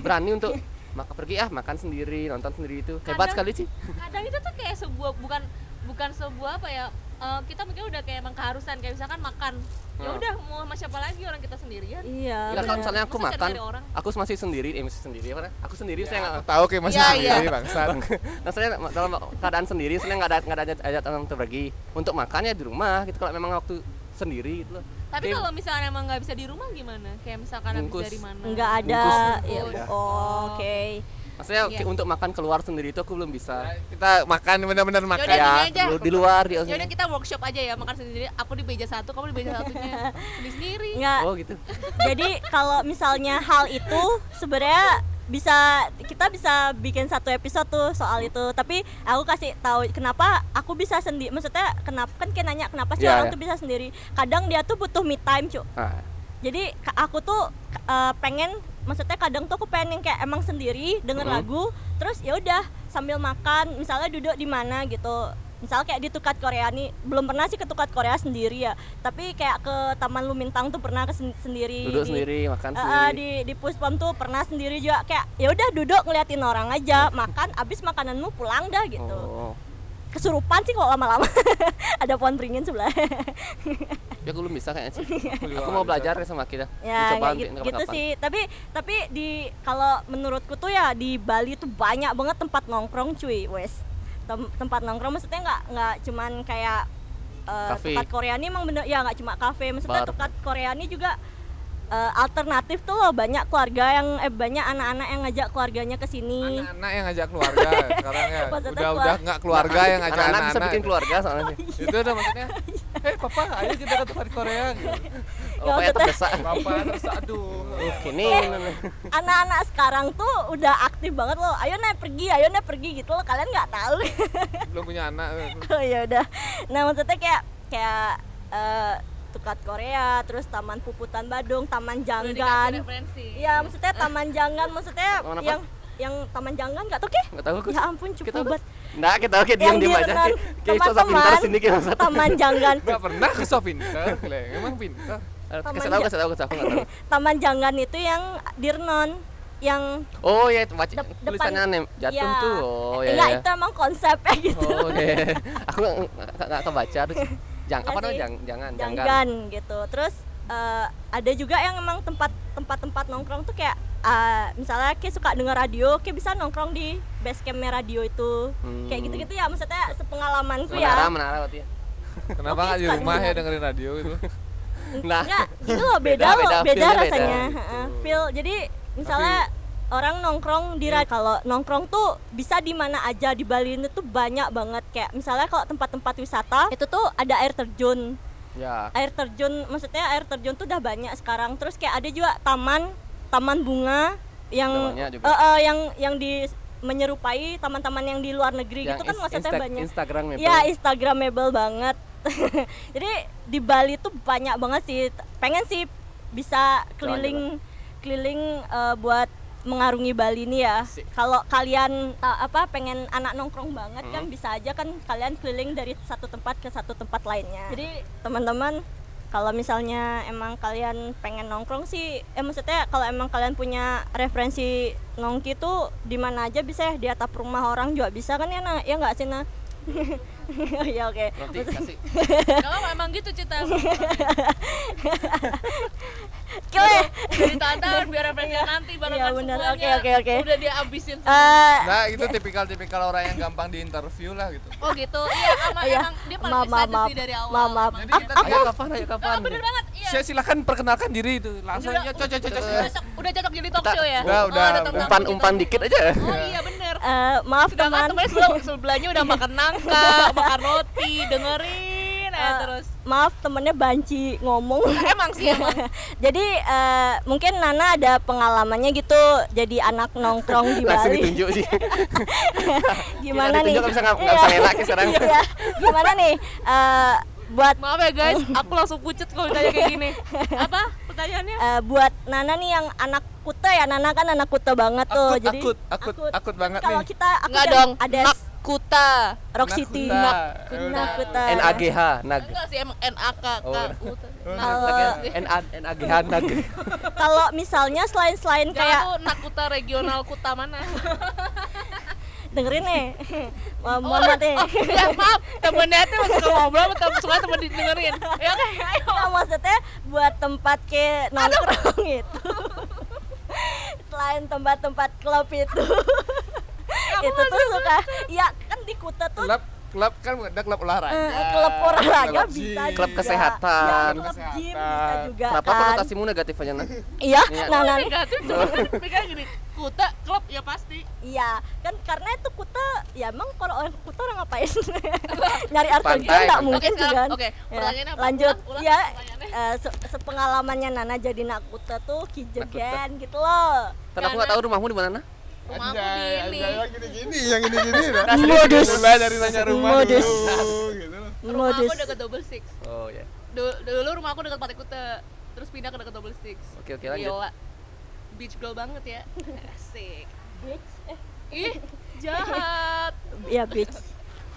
berani untuk maka pergi ah makan sendiri nonton sendiri itu hebat
Kadang-
sekali sih
kadang itu tuh kayak sebuah bukan bukan sebuah apa ya eh, kita mungkin udah kayak emang keharusan kayak misalkan makan ya
Hmm.
udah mau sama siapa lagi orang kita sendirian
Iya.
Ya, kalau
benar.
misalnya aku
Masa
makan,
cari-cari orang?
aku masih sendiri, eh masih sendiri apa? Aku sendiri saya nggak.
Tahu kayak masih
Iya,
sendiri
iya.
bangsat.
Nah, saya dalam keadaan sendiri, saya nggak ada nggak ada ajak orang untuk pergi. Untuk makannya di rumah, gitu. Kalau memang waktu sendiri gitu loh.
tapi
Kayak
kalau misalnya emang nggak bisa di rumah gimana kayak misalkan habis
Bungkus.
dari mana
Enggak ada.
Bungkus. iya.
ya,
Bungkus.
oh, Oke.
maksudnya
Iya.
kayak untuk makan keluar sendiri itu aku belum bisa.
Kita makan benar-benar makan. Ya.
Kayak
Yaudah, gini aja.
di, di luar di
ya udah kita workshop aja ya makan sendiri aku di meja satu kamu di meja satunya sendiri sendiri
Enggak.
Oh gitu.
Jadi kalau misalnya hal itu sebenarnya bisa kita bisa bikin satu episode tuh soal itu tapi aku kasih tahu kenapa aku bisa sendiri maksudnya kenapa kan kayak nanya kenapa sih
Iya,
orang
iya.
tuh bisa sendiri kadang dia tuh butuh me time cu
Nah,
jadi ka- aku tuh eh, pengen maksudnya kadang tuh aku pengen yang kayak emang sendiri denger
Mm.
lagu terus ya udah sambil makan misalnya duduk di mana gitu misal kayak di Tukat Korea nih belum pernah sih ke Tukat Korea sendiri ya tapi kayak ke Taman Lumintang tuh pernah ke sen- sendiri
duduk
di,
sendiri, makan
eh, eh,
sendiri.
di di Puspom tuh pernah sendiri juga kayak ya udah duduk ngeliatin orang aja makan abis makananmu pulang dah gitu
Oh,
kesurupan sih kok lama-lama ada pohon beringin sebelah
ya aku belum bisa kayaknya sih. aku mau belajar deh sama kita.
ya
Coba
kayak gitu, gitu sih tapi tapi di kalau menurutku tuh ya di Bali tuh banyak banget tempat nongkrong cuy wes Tem- tempat nongkrong maksudnya nggak nggak cuman kayak eh,
Kafe.
tempat Korea ini emang bener ya nggak cuma kafe maksudnya
Bar.
tempat Korea ini juga eh, alternatif tuh loh banyak keluarga yang eh, banyak anak-anak yang ngajak keluarganya ke
Hmm.
sini
Anak-anak yang ngajak keluarga sekarang ya.
Maksudnya
Udah
keluar-
udah nggak keluarga yang ngajak
Nah, anak-anak
anak-anak.
bisa bikin keluarga soalnya sih. Oh,
Itu udah maksudnya. Eh, papa, ayo kita ke tempat Korea. gitu.
Oh,
Ya,
kayak
maksudnya-
terdesak.
Papa terus aduh.
Gini, nih.
anak-anak sekarang tuh udah aktif banget loh ayo naik pergi ayo naik pergi gitu loh kalian nggak tahu
Belum punya anak.
oh ya udah nah maksudnya kayak kayak eh, tukat Korea terus Taman Puputan Badung Taman
Udah dikasih
Janggan
referensi
Iya maksudnya Taman Janggan maksudnya
Taman apa?
yang yang Taman Janggan nggak tuh keh
Nggak tahu aku.
ya ampun cukup
Kita apa?
banget
Nggak, kita oke diam-diam aja.
Renon.
Kayak sosok Eh, pintar sini kita
teman-teman Taman Janggan
Gak pernah ke so pinter, Glenn. Emang pinter.
Taman
Kasih tahu,
Ja-
kasih tahu, kasih tahu. nggak tahu.
Taman Janggan itu yang Dirnon yang
Oh ya, itu baca
Dep- depan-
tulisannya nem jatuh
ya.
tuh. Oh ya.
enggak
ya.
itu emang konsepnya gitu
Oh oke. Aku nggak- nggak nggak kebaca terus. Jang, apa
Nggak
namanya?
sih.
Jang, jangan, jangan.
janggan gitu terus eh, ada juga yang emang tempat tempat tempat nongkrong tuh kayak eh, misalnya kayak suka denger radio kayak bisa nongkrong di base campnya radio itu kayak
Hmm.
gitu gitu ya maksudnya sepengalamanku
Menara,
ya
menara berarti. ya.
Kenapa
Oke,
nggak di
suka
rumah ya
dengerin.
dengerin radio itu?
Nah,
enggak itu loh beda,
Beda, beda,
loh beda,
feel-nya beda
rasanya
gitu.
Heeh, feel jadi misalnya orang nongkrong di
Iya.
ra- kalau nongkrong tuh bisa di mana aja di Bali ini tuh banyak banget kayak misalnya kalau tempat-tempat wisata itu tuh ada air terjun
ya.
air terjun maksudnya air terjun tuh udah banyak sekarang terus kayak ada juga taman taman bunga yang
Namanya juga.
eh, eh, yang yang di menyerupai taman-taman yang di luar negeri
Yang
gitu kan
ins-
maksudnya
Ya, insta-
banyak
Instagram memang.
ya instagramable banget jadi di Bali tuh banyak banget sih pengen sih bisa keliling keliling eh, buat mengarungi Bali ini ya
Sip.
kalau kalian eh, apa pengen anak nongkrong banget kan
Mm-hmm.
bisa aja kan kalian keliling dari satu tempat ke satu tempat lainnya jadi teman-teman kalau misalnya emang kalian pengen nongkrong sih eh maksudnya kalau emang kalian punya referensi nongki tuh di mana aja bisa ya di atap rumah orang juga bisa kan ya nak ya nggak sih nak Oh iya oke.
Nanti kasih.
kalau emang gitu cita
Oke.
udah ditahan biar referensinya nanti barengan
Iya, benar.
semuanya
Oke, oke, oke.
udah dihabisin
Eh,
Nah, itu tipikal-tipikal orang yang gampang diinterview lah gitu.
oh gitu iya emang,
Iya.
emang dia paling
Maaf, maaf,
excited
maaf.
sih dari awal
Maaf, maaf.
emang.
Jadi
Ap-
kita
apa?
Ayo kapan, ayo kapan.
Ah, bener banget iya
Saya silakan perkenalkan diri itu. Langsung
Udah,
ya, cocok cocok
udah cocok- udah cocok jadi talk
Kita-
show ya
udah,
Oh,
udah,
ada tentang
udah.
Umpan
gitu.
umpan dikit aja.
oh iya bener
eh, maaf
sedangkan
teman.
temennya sebelah, sebelahnya udah makan nangka makan roti dengerin aja
Eh,
terus
Maaf temennya banci ngomong.
emang sih emang
jadi eh, mungkin Nana ada pengalamannya gitu jadi anak nongkrong di
Langsung
Bali.
ditunjuk sih.
Gimana
Kita ditunjuk nggak
nih?
bisa- ya? nggak bisa
Iya.
ngelak sih sekarang.
Iya. Gimana nih? Eh, buat
Maaf ya guys, aku langsung pucet kalau ditanya kayak gini. Apa pertanyaannya?
eh, buat Nana nih yang anak kuta ya Nana kan anak kuta banget tuh
Akut,
jadi
akut, akut,
akut.
akut banget
kalau
nih.
kita aku
Enggak
kan
dong.
ada
Nakuta.
Rock City
Nakuta.
Nak- Nakuta
NAGH nag
Enggak sih emang NAK
Oh, bener.
Nah,
kalau
NA NAGH nag
kalau misalnya selain selain
Kayak
kayak
tuh Nakuta regional kuta mana?
dengerin nih Mo- Muhammad nih
Oh, ya maaf, temennya tuh suka ngobrol, tapi suka temen didengerin. Ya oke, ayo.
Nah, maksudnya buat tempat ke nongkrong itu selain tempat-tempat klub itu itu tuh suka ya kan di Kuta tuh
Klub, klub kan ada klub olahraga.
eh, klub olahraga
klub
bisa
gym.
juga.
Klub kesehatan. Klub
Ya, klub gym bisa
kesehatan.
juga
Kenapa
kan
konotasimu negatif aja nah?
iya
Iya.
nah, nah,
Negatif cuma pikir gini. Kuta klub ya pasti.
iya kan karena itu Kuta ya emang kalau orang Kuta orang ngapain nyari artikel
Pantai,
nggak
pantai.
mungkin
Oke,
sih
sekarang,
kan
oke,
Ya,
pertanyaannya apa?
lanjut
Ulang, ulang
ya
pertanyaannya.
eh, se- sepengalamannya Nana jadi nakuta tuh kijegan gitu loh
Tapi aku nggak tahu rumahmu di mana nah?
Rumah aku di
Anjay,
ini.
anjay, yang gini-gini, yang gini-gini. dah.
Modus.
Mulai dari nanya rumah
Modus.
dulu, gitu loh.
Rumah aku
modus
deket double six.
Oh ya.
Dulu, dulu rumah aku deket Pantai Kuta. Terus pindah ke deket double six.
Oke, oke, lanjut.
Iya.
Gila. Beach girl banget ya. Asik.
Bitch. Eh,
Ih, jahat.
ya bitch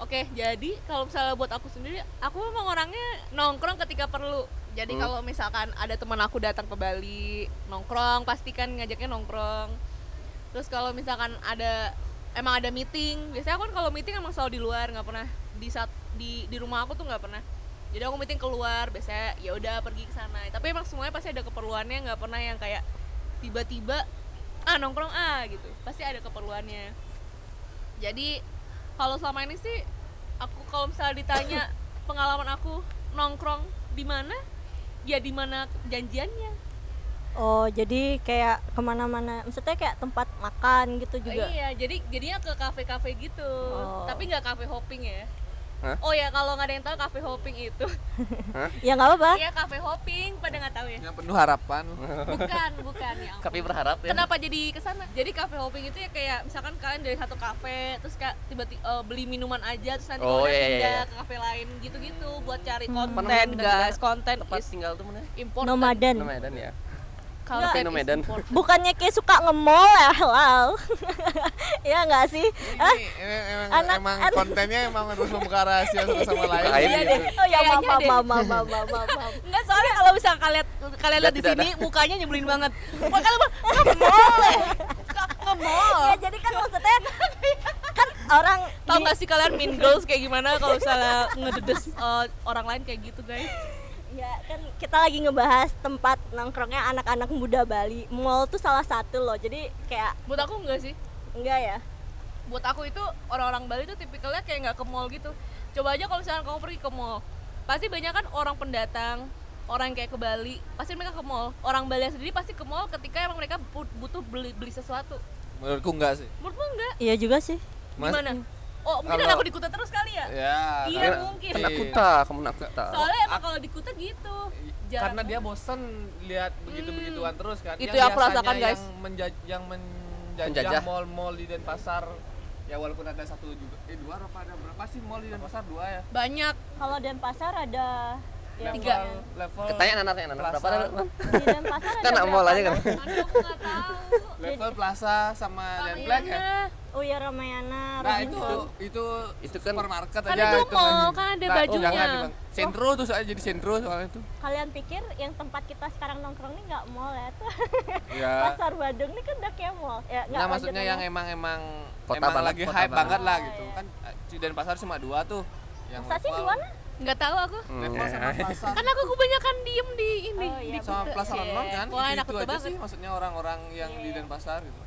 Oke, jadi kalau misalnya buat aku sendiri, aku memang orangnya nongkrong ketika perlu. Jadi kalau misalkan ada teman aku datang ke Bali, nongkrong, pastikan ngajaknya nongkrong. Terus kalau misalkan ada emang ada meeting, biasanya aku kan kalau meeting emang selalu di luar, nggak pernah di saat di di rumah aku tuh nggak pernah. Jadi aku meeting keluar, biasanya ya udah pergi ke sana. Tapi emang semuanya pasti ada keperluannya, nggak pernah yang kayak tiba-tiba ah nongkrong ah gitu. Pasti ada keperluannya jadi kalau selama ini sih aku kalau misalnya ditanya pengalaman aku nongkrong di mana ya di mana janjiannya
oh jadi kayak kemana-mana maksudnya kayak tempat makan gitu juga
iya jadi jadinya ke kafe-kafe gitu
Oh.
tapi nggak kafe hopping ya
Hah?
Oh ya kalau nggak ada yang tahu kafe hopping itu,
ya nggak apa-apa
iya kafe hopping pada nggak tahu ya.
Yang penuh harapan.
Eh,
Bukan, bukan ya. ampun.
Tapi berharap ya.
Kenapa jadi kesana? Jadi kafe hopping itu ya kayak misalkan kalian dari satu kafe terus kayak tiba-tiba eh, beli minuman aja terus nanti
Oh, iya,
kalian
iya,
pindah
iya.
ke kafe lain gitu-gitu buat cari
Hmm.
Apa
konten
namanya?
guys, konten
Tempat
is
tinggal tuh mana?
important.
nomaden
Nomaden ya.
kan? Kalau
Tapi
kan
nomaden.
is important.
bukannya kayak suka nge-mall ya wow ya nggak sih Hah?
Ini, ini emang,
Anak-
emang
anak-
kontennya emang harus membuka rahasia satu sama lain.
Iya,
aib
gitu.
deh.
oh ya maaf
Kayaknya
maaf
deh.
maaf maaf maaf maaf, maaf.
Enggak soalnya kalau bisa kalian kalian lihat di
Tidak,
sini mukanya nyebelin banget. Wah, kalian mah nge-mall. ya. Nge- Nge-mall.
ya jadi kan maksudnya kan orang
Oh. Tahu
di-
nggak sih kalian mean girls kayak gimana kalau misalnya ngededes eh, orang lain kayak gitu, guys?
ya kan kita lagi ngebahas tempat nongkrongnya anak-anak muda Bali mall tuh salah satu loh jadi kayak
Buat aku enggak sih.
enggak ya
Buat aku itu orang-orang Bali tuh tipikalnya kayak nggak ke mall gitu. Coba aja kalau misalnya kamu pergi ke mall, pasti banyak kan orang pendatang, orang yang kayak ke Bali, pasti mereka ke mall. Orang Bali sendiri pasti ke mall ketika emang mereka bu- butuh beli beli sesuatu.
Menurutku enggak sih.
Menurutmu enggak?
iya juga sih
Mas-
Gimana? Oh, mungkin
Kalau-
aku di Kuta terus kali ya?
Ya.
Iya,
karena-
mungkin.
Kena kuta, kamu nak kuta.
Soalnya emang kalau di Kuta gitu. Jarang
Iya,
Hmm.
karena dia bosen lihat begitu-begituan terus kan.
Itu
Yang
yang aku
biasanya
rasakan, guys.
Yang menja- yang menjajah,
Menjajah.
mall-mall di Denpasar. Ya walaupun ada satu juga, eh dua apa ada berapa sih mall di Denpasar dua ya?
banyak
kalau Denpasar ada yang-
Tiga.
Level- Level
Ketanya anak tanya anak berapa ada? Bang?
di Denpasar ada
Kan nak
berapa
mall aja kan.
kan?
Aduh, aku nggak tahu
level plaza sama Denplex ya.
Ramayana.
oh ya Ramayana
Nah
Robinson.
itu itu
Itu kan-
supermarket
Kan
aja
itu mall,
Bang.
kan ada
Nah,
bajunya.
jangan, Bang. Sentro tuh soalnya jadi sentro soalnya itu.
kalian pikir yang tempat kita sekarang nongkrong ini nggak mall ya tuh
Ya.
pasar Badung ini kan udah kayak mall ya
Nah,
nggak lanjut
maksudnya yang
ngomong.
emang emang
Kota
emang
banget,
lagi
kota
hype banget,
banget.
lah gitu. Kan eh, Denpasar cuma dua tuh. Yang
Masa sih di
level-
mana
nggak tahu aku
Hmm. Iya.
Level sama plaza.
kan aku kebanyakan diem di ini
Oh, iya,
di
sama
Kuta.
Plaza
Iya.
London kan
wah enak
itu,
Kuta
aja
banget Iya.
sih maksudnya orang-orang yang di Denpasar gitu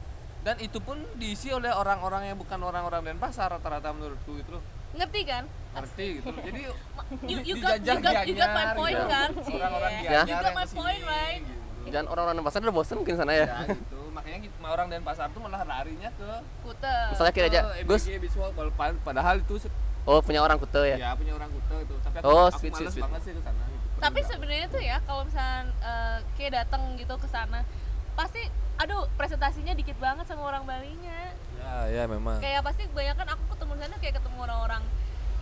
dan itu pun diisi oleh orang-orang yang bukan orang-orang Denpasar rata-rata menurutku gitu loh
ngerti kan
ngerti gitu loh. jadi
you, you got you got you got my
Gianyar,
point
gitu.
kan
orang-orang
Iya.
Gianyar
you got
yang
my
kesini,
point right
gitu.
Dan orang-orang pasar udah bosen mungkin sana ya.
ya gitu makanya kita, orang Denpasar tuh malah larinya ke
Kuta
Misalnya kira aja,
ke
Gus,
MBG Beach Walk, walaupun- padahal itu se-
oh punya orang kuta ya.
Iya,
ya punya orang Kuta
gitu.
itu tapi aku,
Oh,
aku
sweet,
males
sweet, sweet.
banget sih ke sana gitu.
tapi
Iya.
Pernah.
sebenarnya tuh ya kalau misalnya eh, kayak datang gitu ke sana pasti aduh presentasinya dikit banget sama orang Balinya
ya ya memang
kayak pasti kebanyakan aku ketemu di sana kayak ketemu orang-orang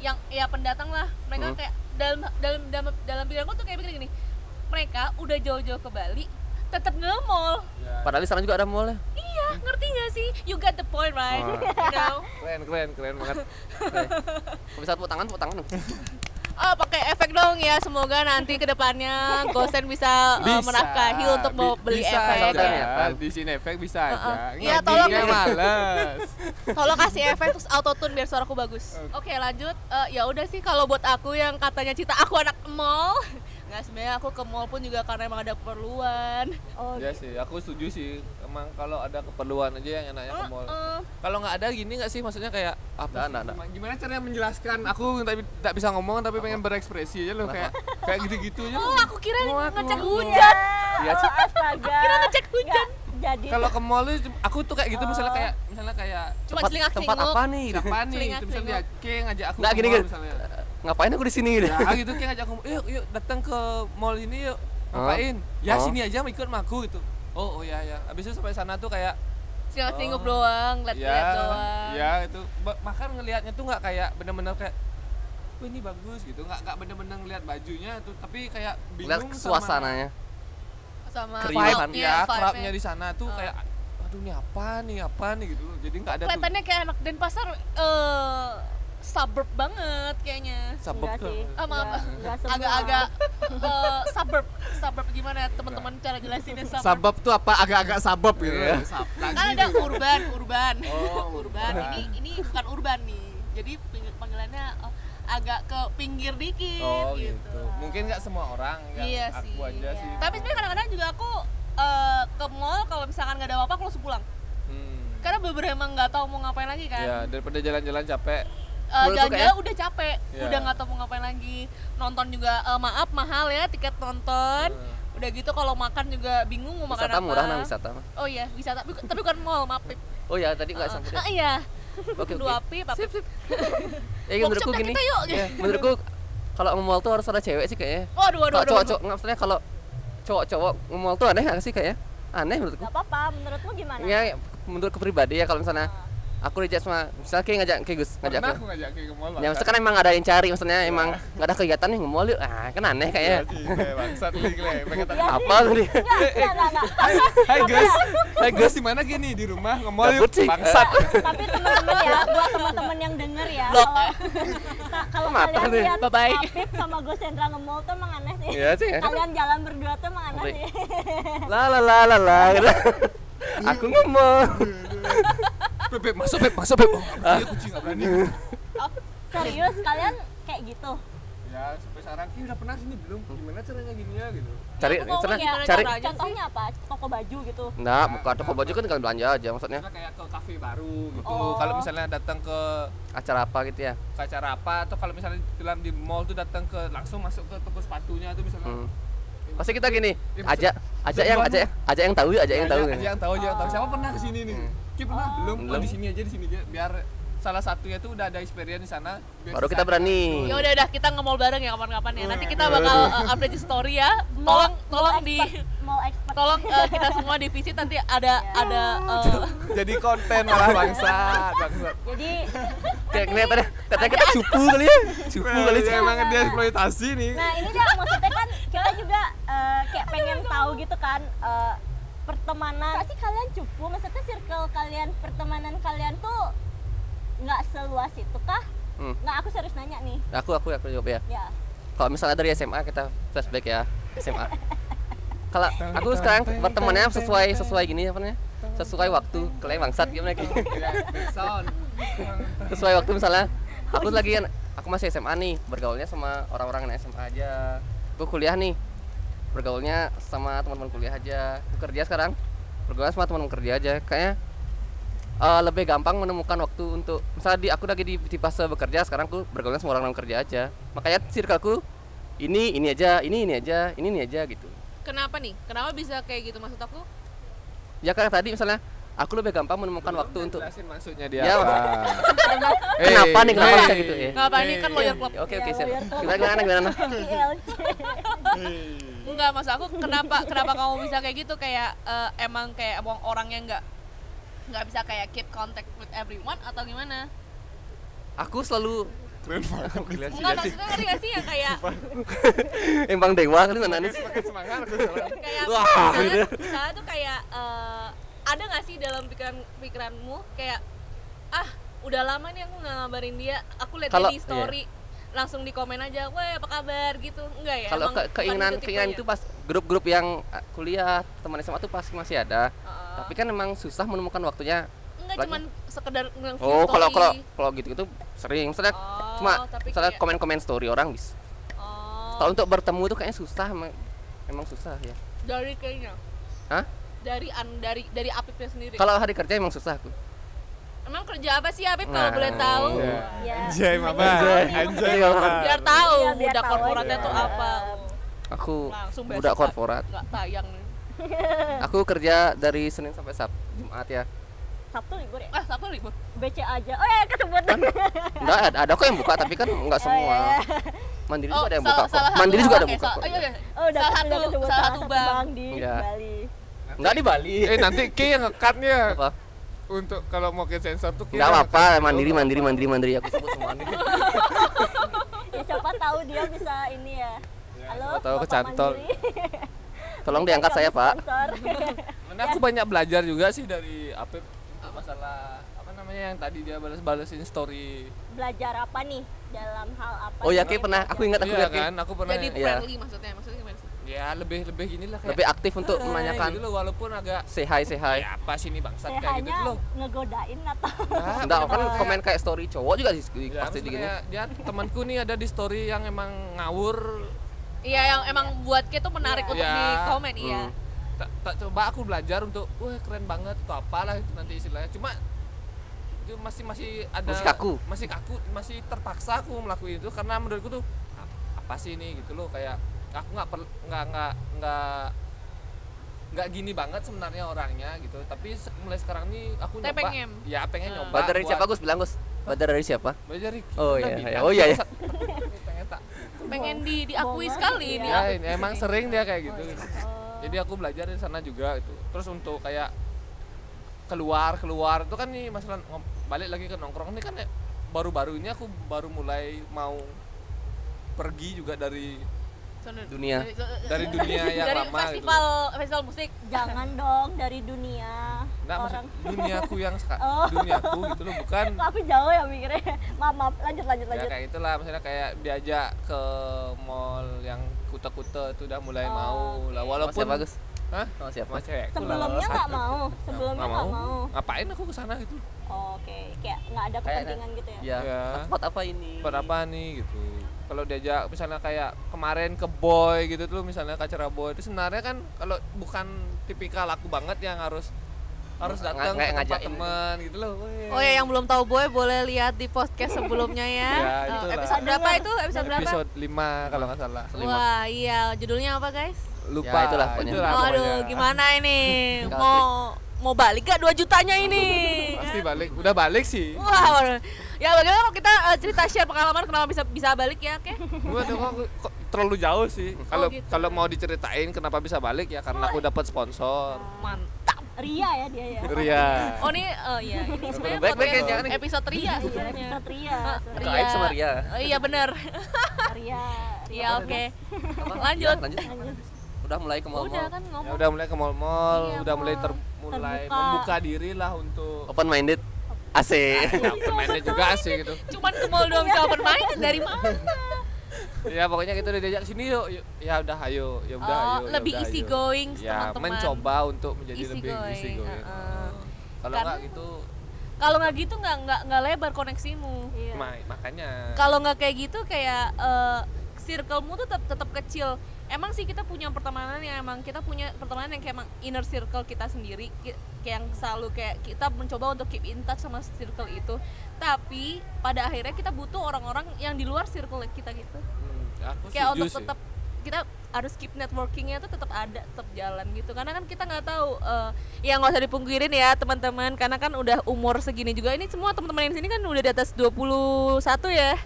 yang ya pendatang lah mereka kayak dalam dalam dalam dalam pikiranku tuh kayak begini gini mereka udah jauh-jauh ke Bali tetap nge-mall
Padahal di sana juga ada mall ya.
iya ngerti gak sih you got the point right
Oh.
you know
Keren, keren, keren banget.
Kalau bisa tepuk tangan, tepuk tangan. dong.
Oh, pakai efek dong ya semoga nanti kedepannya Gosen bisa, uh, menafkahi untuk mau
Bi-
beli
bisa
efek
aja.
ya.
Di sini efek bisa aja. Ngodingnya
Iya, tolong.
males.
Tolong kasih efek terus autotune biar suaraku bagus. Oke, lanjut. Eh, ya udah sih kalau buat aku yang katanya cita aku anak mall. Nggak sebenarnya aku ke mall pun juga karena emang ada keperluan.
Oh,
Ya sih, aku setuju sih. Emang kalau ada keperluan aja yang ya, enaknya ke mall.
Eh,
Kalau nggak ada gini nggak sih maksudnya kayak apa?
Nggak,
sih?
nggak, nggak.
Gimana-
Gimana caranya menjelaskan? Aku tak, bi- tak bisa ngomong tapi pengen berekspresi aja loh kayak kayak gitu-gitu aja.
oh,
loh.
aku kira ngecek
Iya.
hujan.
Iya,
Oh,
Cik.
astaga.
Kira ngecek hujan.
Jadi
Kalau ke mall tuh aku tuh kayak gitu
Oh.
misalnya kayak misalnya kayak
Cuma
tempat,
celingak
tempat apa nih? gitu.
Siapa nih?
Telinga
Itu misalnya dia
telinga.
Kay ngajak aku
Nggak,
ke
gini,
mall
gini. Eh,
misalnya.
Ngapain aku di sini gitu?
Ya gitu kayak ngajak aku, yuk yuk datang ke mall ini yuk. Ngapain? Ya
Oh.
sini aja ikut sama aku gitu. Oh oh ya ya. Abis itu sampai sana tuh kayak
Celingak
Oh.
celinguk doang,
ya
lihat-lihat doang.
ya itu Ba- bahkan ngelihatnya tuh nggak kayak bener-bener kayak Wah ini bagus gitu, nggak nggak bener-bener ngeliat bajunya tuh, tapi kayak
Lihat
bingung sama-
suasananya.
Sama
Keriuhan.
ya
vibe-nya, Iya, vibe-nya.
crowdnya di sana tuh
Oh.
kayak aduh ini apa nih apa nih gitu jadi nggak ada tuh
Kelihatannya kayak anak Denpasar eh suburb banget kayaknya.
sabep
Enggak
tuh.
sih.
Ah, maaf.
Enggak- enggak semua.
agak-agak eh, suburb suburb gimana ya teman-teman cara jelasinnya suburb
Sabab tuh apa? Agak-agak sabab gitu.
Iya.
Sabab.
kan ada urban urban
Oh,
urban ini ini bukan urban nih jadi ping- panggilannya eh, agak ke pinggir dikit
oh
gitu,
gitu mungkin nggak semua orang nggak
iya
aku
sih
aja sih
tapi sebenarnya kadang-kadang juga aku eh, ke mall kalau misalkan nggak ada apa-apa aku langsung pulang
hmm.
karena beberapa emang nggak tahu mau ngapain lagi kan
ya daripada jalan-jalan capek
Eh,
Menurutku
jalan-jalan udah capek,
Iya.
udah nggak tahu mau ngapain lagi. Nonton juga eh, maaf mahal ya tiket nonton.
Iya.
Udah gitu kalau makan juga bingung mau makan
Wisata
apa.
murah nah wisata. mah.
Oh iya, wisata. Tapi, tapi bukan mall, maaf. Pip.
Oh ya tadi nggak
Ah,
sampai.
ah, iya.
Oke oke.
Dua pip, apa?
Ya
Workshop
menurutku
lah
gini.
kita yuk.
ya, menurutku kalau nge-mall tuh harus ada cewek sih kayaknya.
Waduh,
Kalau
waduh, waduh.
cowok-cowok nggak, maksudnya kalau cowok-cowok nge-mall tuh aneh nggak sih kayaknya? Aneh menurutku.
Gak apa-apa, menurutmu gimana?
Iya.
Ya menurut aku pribadi ya kalau misalnya aku dijak sama misalnya kayak ngajak kayak Gus
Ah.
ngajak
Pernah
aku.
aku ngajak Kay ke mall.
Ya
Bang.
maksudnya kan emang nggak ada yang cari maksudnya emang nggak ada kegiatan nih nge-mall yuk. Ah kan aneh
Iya
kayaknya.
sih, Kay, bangsat nih, Kay. Pengen tak-
Apa tuh dia?
Enggak, enggak, enggak, enggak.
Hai guys, hai guys di mana gini di rumah ngemol
Gabut
yuk
sih.
bangsat.
tapi teman-teman ya buat teman-teman yang denger ya
Blok.
kalau ka- kalau
Mata
kalian
nih.
lihat
Bye-bye.
Apip sama Gus Hendra nge-mall tuh emang aneh sih
Iya sih. ya.
kalian jalan berdua tuh emang aneh
Ngeri.
sih
La la la la la.
Iya.
gitu. Aku nge-mall.
beb beb, masuk beb masuk beb oh, nggak
Ah.
berani, kucing nggak berani
Oh, serius kalian kayak gitu
Ya sampai sekarang Kay udah pernah sini belum?
Hmm.
Gimana caranya gininya gitu?
Cari
Aku ngomong
misalnya
gimana
cari
caranya? sih.
contohnya apa toko baju gitu
Nah, buka toko baju kan kan belanja aja maksudnya
Kita kayak ke kafe baru gitu.
Oh.
kalau misalnya datang ke,
acara apa gitu ya.
ke acara apa atau kalau misalnya dalam di mall tuh datang ke langsung masuk ke toko sepatunya tuh misalnya
Hmm. Pasti kita gini,
Ya, maksud-
ajak ajak yang
tujuan-
ajak ajak yang tahu, yuk, ajak yang tahu. Hmm.
Aja, aja kan? yang tahu, aja yang
Ah.
tahu. Siapa pernah ke sini nih? Ki pernah belum? Oh,
Belum.
di sini aja, di sini aja. Biar salah satunya tuh udah ada experience di sana. biar
Baru kita
sisanya-
berani.
Ya udah udah kita nge-mall bareng ya kapan-kapan
Iya,
ya. Nanti kita bakal eh, update di story ya. Tolong tolong di
mau expert
tolong eh, kita semua di visit nanti ada ada eh,
Jadi konten malah bangsat, bangsat.
jadi
Kayak kelihatannya katanya kita cupu kali ya. Cupu kali sih.
emang dia eksploitasi nih.
nah ini dah maksudnya kan kita juga eh, kayak pengen tahu gitu kan eh, pertemanan pasti kalian cupu maksudnya circle kalian pertemanan kalian tuh nggak seluas itu kah
iya.
Hmm.
nggak aku serius nanya nih
Aku aku aku jawab ya.
ya
Kalau misalnya dari SMA kita flashback ya SMA. Kalau aku sekarang bertemannya sesuai sesuai gini apa namanya? Sesuai waktu. Kalian bangsat gimana Ki?
Ya, backsound.
Sesuai waktu misalnya aku lagi kan, aku masih SMA nih, bergaulnya sama orang-orang yang SMA aja. Aku kuliah nih, bergaulnya sama teman-teman kuliah aja. Aku kerja sekarang, bergaul sama teman-teman kerja aja. Kayaknya eh, lebih gampang menemukan waktu untuk misalnya di aku lagi di, di fase bekerja sekarang aku bergaulnya sama orang-orang kerja aja. Makanya circleku ini ini aja, ini ini aja, ini ini aja gitu.
kenapa nih? Kenapa bisa kayak gitu maksud aku?
Ya karena tadi misalnya aku lebih gampang menemukan Kan waktu untuk
Jelasin maksudnya dia
Ya,
apa.
kenapa nih kenapa
Hey,
bisa gitu ya.
Enggak apa ini kan lawyer club.
Oke oke
Ya,
siap.
lawyer tuh.
Gimana gimana gimana?
ILC
iya.
Enggak, maksud aku kenapa kenapa kamu bisa kayak gitu kayak eh, emang kayak emang orangnya enggak nggak bisa kayak keep contact with everyone atau gimana?
Aku selalu
keren banget
Iya
Gila sih,
Enggak
gila sih.
maksudnya ngerti gak sih yang kayak
Emang dewa kali anaknya sih.
Makin semangat aku jalan.
kayak
Wah,
misalnya,
gitu.
misalnya tuh kayak eh, ada gak sih dalam pikiran pikiranmu kayak ah udah lama nih aku nggak ngabarin dia aku lihat
Kalau- iya.
dia di story langsung di komen aja, wah apa kabar gitu, enggak ya?
Kalau
emang ya?
ke-
bukan
keinginan keinginan
tipenya?
itu pas grup-grup yang ah, kuliah teman SMA tuh pasti masih ada.
Heeh.
Tapi kan emang susah menemukan waktunya.
enggak
lagi-
cuman sekedar nge-
Oh, kalau kalau
story.
kalau gitu-gitu sering. Misalnya
Oh,
cuma
tapi
misalnya
kayak-
komen-komen story orang bisa.
Oh,
Kalau untuk bertemu tuh kayaknya susah emang, emang susah ya.
dari kayaknya
Hah?
dari an dari dari Apipnya sendiri.
Kalau hari kerja emang susah aku.
Emang kerja apa sih Apip
Nah,
kalau boleh tahu?
iya.
Ya.
Anjay, Mama.
Anjay.
Anjay,
Iya,
Mama.
Biar tahu
Iya, biar
budak
tahu Iya.
korporatnya
aja.
tuh apa.
Aku
Langsung besok
budak
tak-
korporat.
Enggak tayang. nih.
Aku kerja dari Senin sampai Sabtu, Jumat ya.
Sabtu libur ya?
Ah, siapa libur?
BC aja. Oh ya kesebut.
Enggak ada, ada kok yang buka tapi kan
Ya,
enggak semua. Mandiri juga ada yang buka kok.
Oh, satu
Mandiri juga ada
orang
yang
ya,
buka
salah-
kok.
oh, iya, iya.
Oh udah udah
salah satu
kesebut
salah satu bank.
di
Iya.
Bali.
iya.
Enggak di Bali.
Eh nanti Ki yang ngekatnya
Apa?
untuk kalau mau ke sensor tuh Ki
Enggak
Iya.
yang
apa-apa,
nge-cut.
mandiri mandiri mandiri mandiri aku sebut semua.
Ya siapa tahu dia bisa ini ya. Halo.
siapa tahu
Bapak
kecantol.
Mandiri.
Tolong diangkat saya, Pak.
Sponsor.
Karena
Ya.
aku banyak belajar juga sih dari Apip untuk masalah apa namanya yang tadi dia balas-balasin story.
Belajar apa nih dalam hal apa?
Oh ya,
sih
Ki pernah
yang
aku ingat aku
Iya
lihat Ki.
kan, aku pernah
Jadi
Iya.
friendly maksudnya, maksudnya gimana sih?
ya lebih lebih gini lah kayak
Lebih aktif untuk
"Hai," gitu
menanyakan Iya,
loh, walaupun agak
say hi say hi.
ya apa sih ini bangsat
Saya
kayak gitu
hanya
tuh loh.
ngegodain atau
Enggak, kan komen kayak story cowok juga
Ya,
di- pasti
Iya, maksudnya
begini.
dia temanku nih ada di story yang emang ngawur
Iya, yang emang buat kita tuh menarik
Iya.
untuk
Iya.
di komen, iya.
Hmm.
tak, tak coba aku belajar untuk wah keren banget atau apalah itu nanti istilahnya cuma itu masih masih ada
Masih kaku.
masih kaku masih terpaksa aku melakukan itu karena menurutku tuh "Ap- apa sih ini gitu loh kayak aku nggak perlu nggak nggak nggak nggak gini banget sebenarnya orangnya gitu tapi se- mulai sekarang nih aku
Tapi
nyoba
pengen. Ah.
ya pengen nyoba
Badar dari
buat-
siapa Gus? Bilang Gus. Badar dari siapa?
belajar Ricky
Oh
udah
iya,
bilang,
iya. Oh iya, iya.
Sat- pengen tak
Pengen di diakui
Bohongan,
sekali
iya.
di
ya,
Apip
ini
di
emang
sini.
sering dia kayak gitu
Oh.
jadi aku belajar di sana juga itu terus untuk kayak keluar keluar itu kan nih masalah ngom- balik lagi ke nongkrong ini kan ya, baru-baru ini aku baru mulai mau pergi juga dari
Dunia.
dari dunia yang
dari
lama gitu
festival festival musik
Jangan dong dari dunia
Nggak, maksud
orang.
duniaku yang seka-
Oh.
duniaku gitu loh bukan
Kok aku jauh ya mikirnya. Maaf, maaf. lanjut lanjut
ya
lanjut.
kayak itulah misalnya kayak diajak ke mall yang kute-kute itu udah mulai
Oh,
mau lah
Sama
walaupun
siapa Gus?
Hah?
Sama siapa?
Sama cewekku lah.
Sebelumnya nggak mau, sebelumnya
Nggak
nggak mau.
ngapain aku kesana gitu
Oh, Oke, kayak nggak ada
Kayak-
kepentingan gitu ya.
Ya.
Ya.
Aku Buat apa ini?
buat apa nih gitu kalau diajak misalnya kayak kemarin ke boy gitu tuh misalnya ke boy itu sebenarnya kan kalau bukan tipikal aku banget yang harus harus
Nga-
datang
kayak
ke tempat
ngajakin.
teman gitu loh weh.
Oh ya yang belum tahu boy boleh lihat di podcast sebelumnya ya.
Ya,
Eh,
itulah.
episode berapa itu? Episode berapa?
episode 5 kalau nggak salah
Wah, iya, judulnya apa, guys?
lupa
Ya, itulah pokoknya.
itulah pokoknya.
Waduh, gimana ini?
Tinggal
Mau mau balik gak 2 jutanya ini?
pasti balik udah balik sih
Wah, waduh. ya bagaimana kalau kita eh, cerita share pengalaman kenapa bisa bisa balik ya, oke?
Gua tuh kok- kok terlalu jauh sih kalau
gitu.
kalau mau diceritain kenapa bisa balik ya karena aku dapat sponsor
Mantap.
Ria ya dia ya.
Ria
Oh, ini oh iya, Kan ini sebenarnya
Baik-baik
podcast
ya, jangan.
episode
Iya,
Ria sebenarnya.
Iya, Episode Ria, sorry.
Buka aib sama Ria.
Oh, iya benar.
Ria. Ria.
Iya, oke.
Apa?
Lanjut.
Ya, lanjut. Udah mulai ke mall.
Udah kan
ya,
ngomong.
udah mulai ke mall-mall
Iya,
udah mulai
mall.
ter, mulai
Terbuka.
membuka diri lah untuk
Open minded. Asik.
ya,
Iya.
permainnya juga sih gitu
Cuman ke mall doang bisa open minded dari mana?
ya pokoknya kita udah diajak sini yuk, yuk. ya udah ayo ya udah
Oh,
ayo ya
lebih
udah, ayo.
easy going
ya
teman-teman.
mencoba untuk menjadi
Easy
lebih
going,
easy going Oh.
uh-uh.
kalau
Karena-
nggak gitu
Kalau nggak gitu nggak nggak nggak lebar koneksimu.
Iya.
ma- makanya
Kalau nggak kayak gitu kayak eh, circlemu tuh tetap tetap kecil. Emang sih kita punya pertemanan yang emang kita punya pertemanan yang kayak emang inner circle kita sendiri ki- kayak yang selalu kayak kita mencoba untuk keep in touch sama circle itu. Tapi pada akhirnya kita butuh orang-orang yang di luar circle kita gitu.
hmm, aku
kayak
setuju
untuk
sih
tetap kita harus keep networkingnya tuh tetap ada tetap jalan gitu karena kan kita nggak tahu eh, ya nggak usah dipungkirin ya teman-teman karena kan udah umur segini juga ini semua teman-teman yang di sini kan udah di atas 21 ya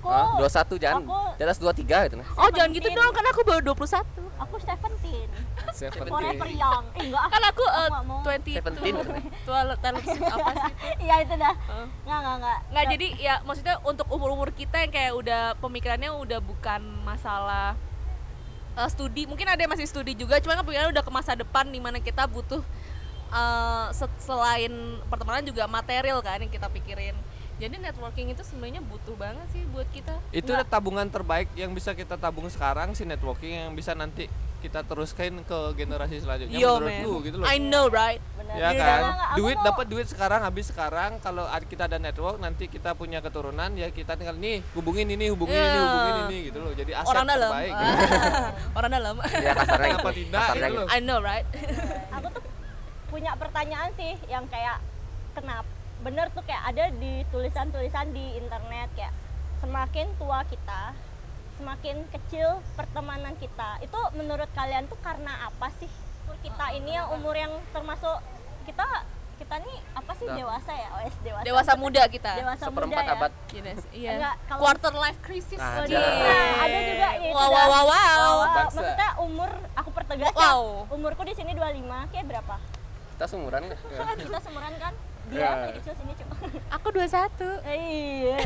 Aku
Hah? 21 jangan.
Aku-
Di atas 23 gitu nah.
oh jangan gitu dong karena aku baru 21
aku 17. Forever
Seventeen.
young. Eh, enggak.
kan aku
Aku
eh,
nggak mau.
17
22 Tua- Taylor Swift apa sih
Iya itu dah.
Heeh.
Enggak, enggak, enggak.
nggak jadi ya maksudnya untuk umur umur kita yang kayak udah pemikirannya udah bukan masalah eh, studi mungkin ada yang masih studi juga cuman kan pemikirannya udah ke masa depan dimana kita butuh eh, se- selain pertemanan juga material kan yang kita pikirin jadi networking itu sebenarnya butuh banget sih buat kita
Itu dah
Nggak-
tabungan terbaik yang bisa kita tabung sekarang si networking yang bisa nanti kita teruskan ke generasi selanjutnya
Yo man,
menurutku gitu loh.
I know right.
Bener.
Ya
Enggak,
kan,
enggak, enggak. Aku
duit
mau-
dapat duit sekarang habis sekarang kalau ad- kita ada network nanti kita punya keturunan ya kita tinggal nih hubungin ini hubungin ini
Iya.
hubungin ini gitu loh jadi aset
Orang dalam, Ah.
terbaik.
orang dalam.
ya kasarnya gitu
Kenapa tidak
kasarnya
gitu
gitu
loh.
I know right.
aku tuh punya pertanyaan sih yang kayak kenapa bener tuh kayak ada di tulisan-tulisan di internet kayak semakin tua kita semakin kecil pertemanan kita itu menurut kalian tuh karena apa sih umur kita ini yang umur yang termasuk kita kita nih apa sih
Nah.
dewasa ya OS dewasa
Dewasa muda kita.
dewasa
seperempat
muda ya?
abad
Gini sih,
Enggak,
Iya.
kalau-
Quarter life crisis.
Nah,
Jee.
Nah, ada juga ya itu dah.
Wow, wow, wow, kan. wow.
Wow,
Bangsa.
maksudnya umur aku pertegas ya.
Wow.
Umurku di sini 25, kayak berapa?
kita seumuran kan?
Kan kita seumuran kan? Dia
Ya.
lebih kecil sini cuma.
Aku 21.
Iya.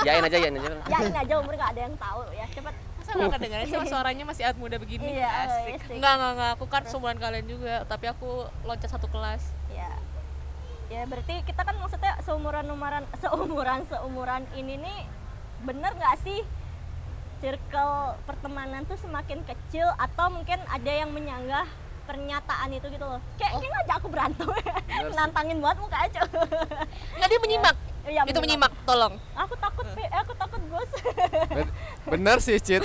yain aja yain aja
Yakin aja umur nggak ada yang tahu ya. Cepet.
Masa nggak kedengeran sih suaranya masih awet muda begini?
Iya,
Asik.
asik.
Enggak, enggak, enggak. Aku kan seumuran kalian juga, tapi aku loncat satu kelas.
Ya. Ya berarti kita kan maksudnya seumuran umuran seumuran seumuran ini nih bener nggak sih circle pertemanan tuh semakin kecil atau mungkin ada yang menyanggah pernyataan itu gitu loh
Oh.
kayak kayak ngajak aku berantem nantangin banget muka aja
Enggak, dia menyimak.
Iya,
Itu
menyimak.
menyimak, Hmm. tolong.
aku takut Pi. aku takut Gus
Bener sih, Cit.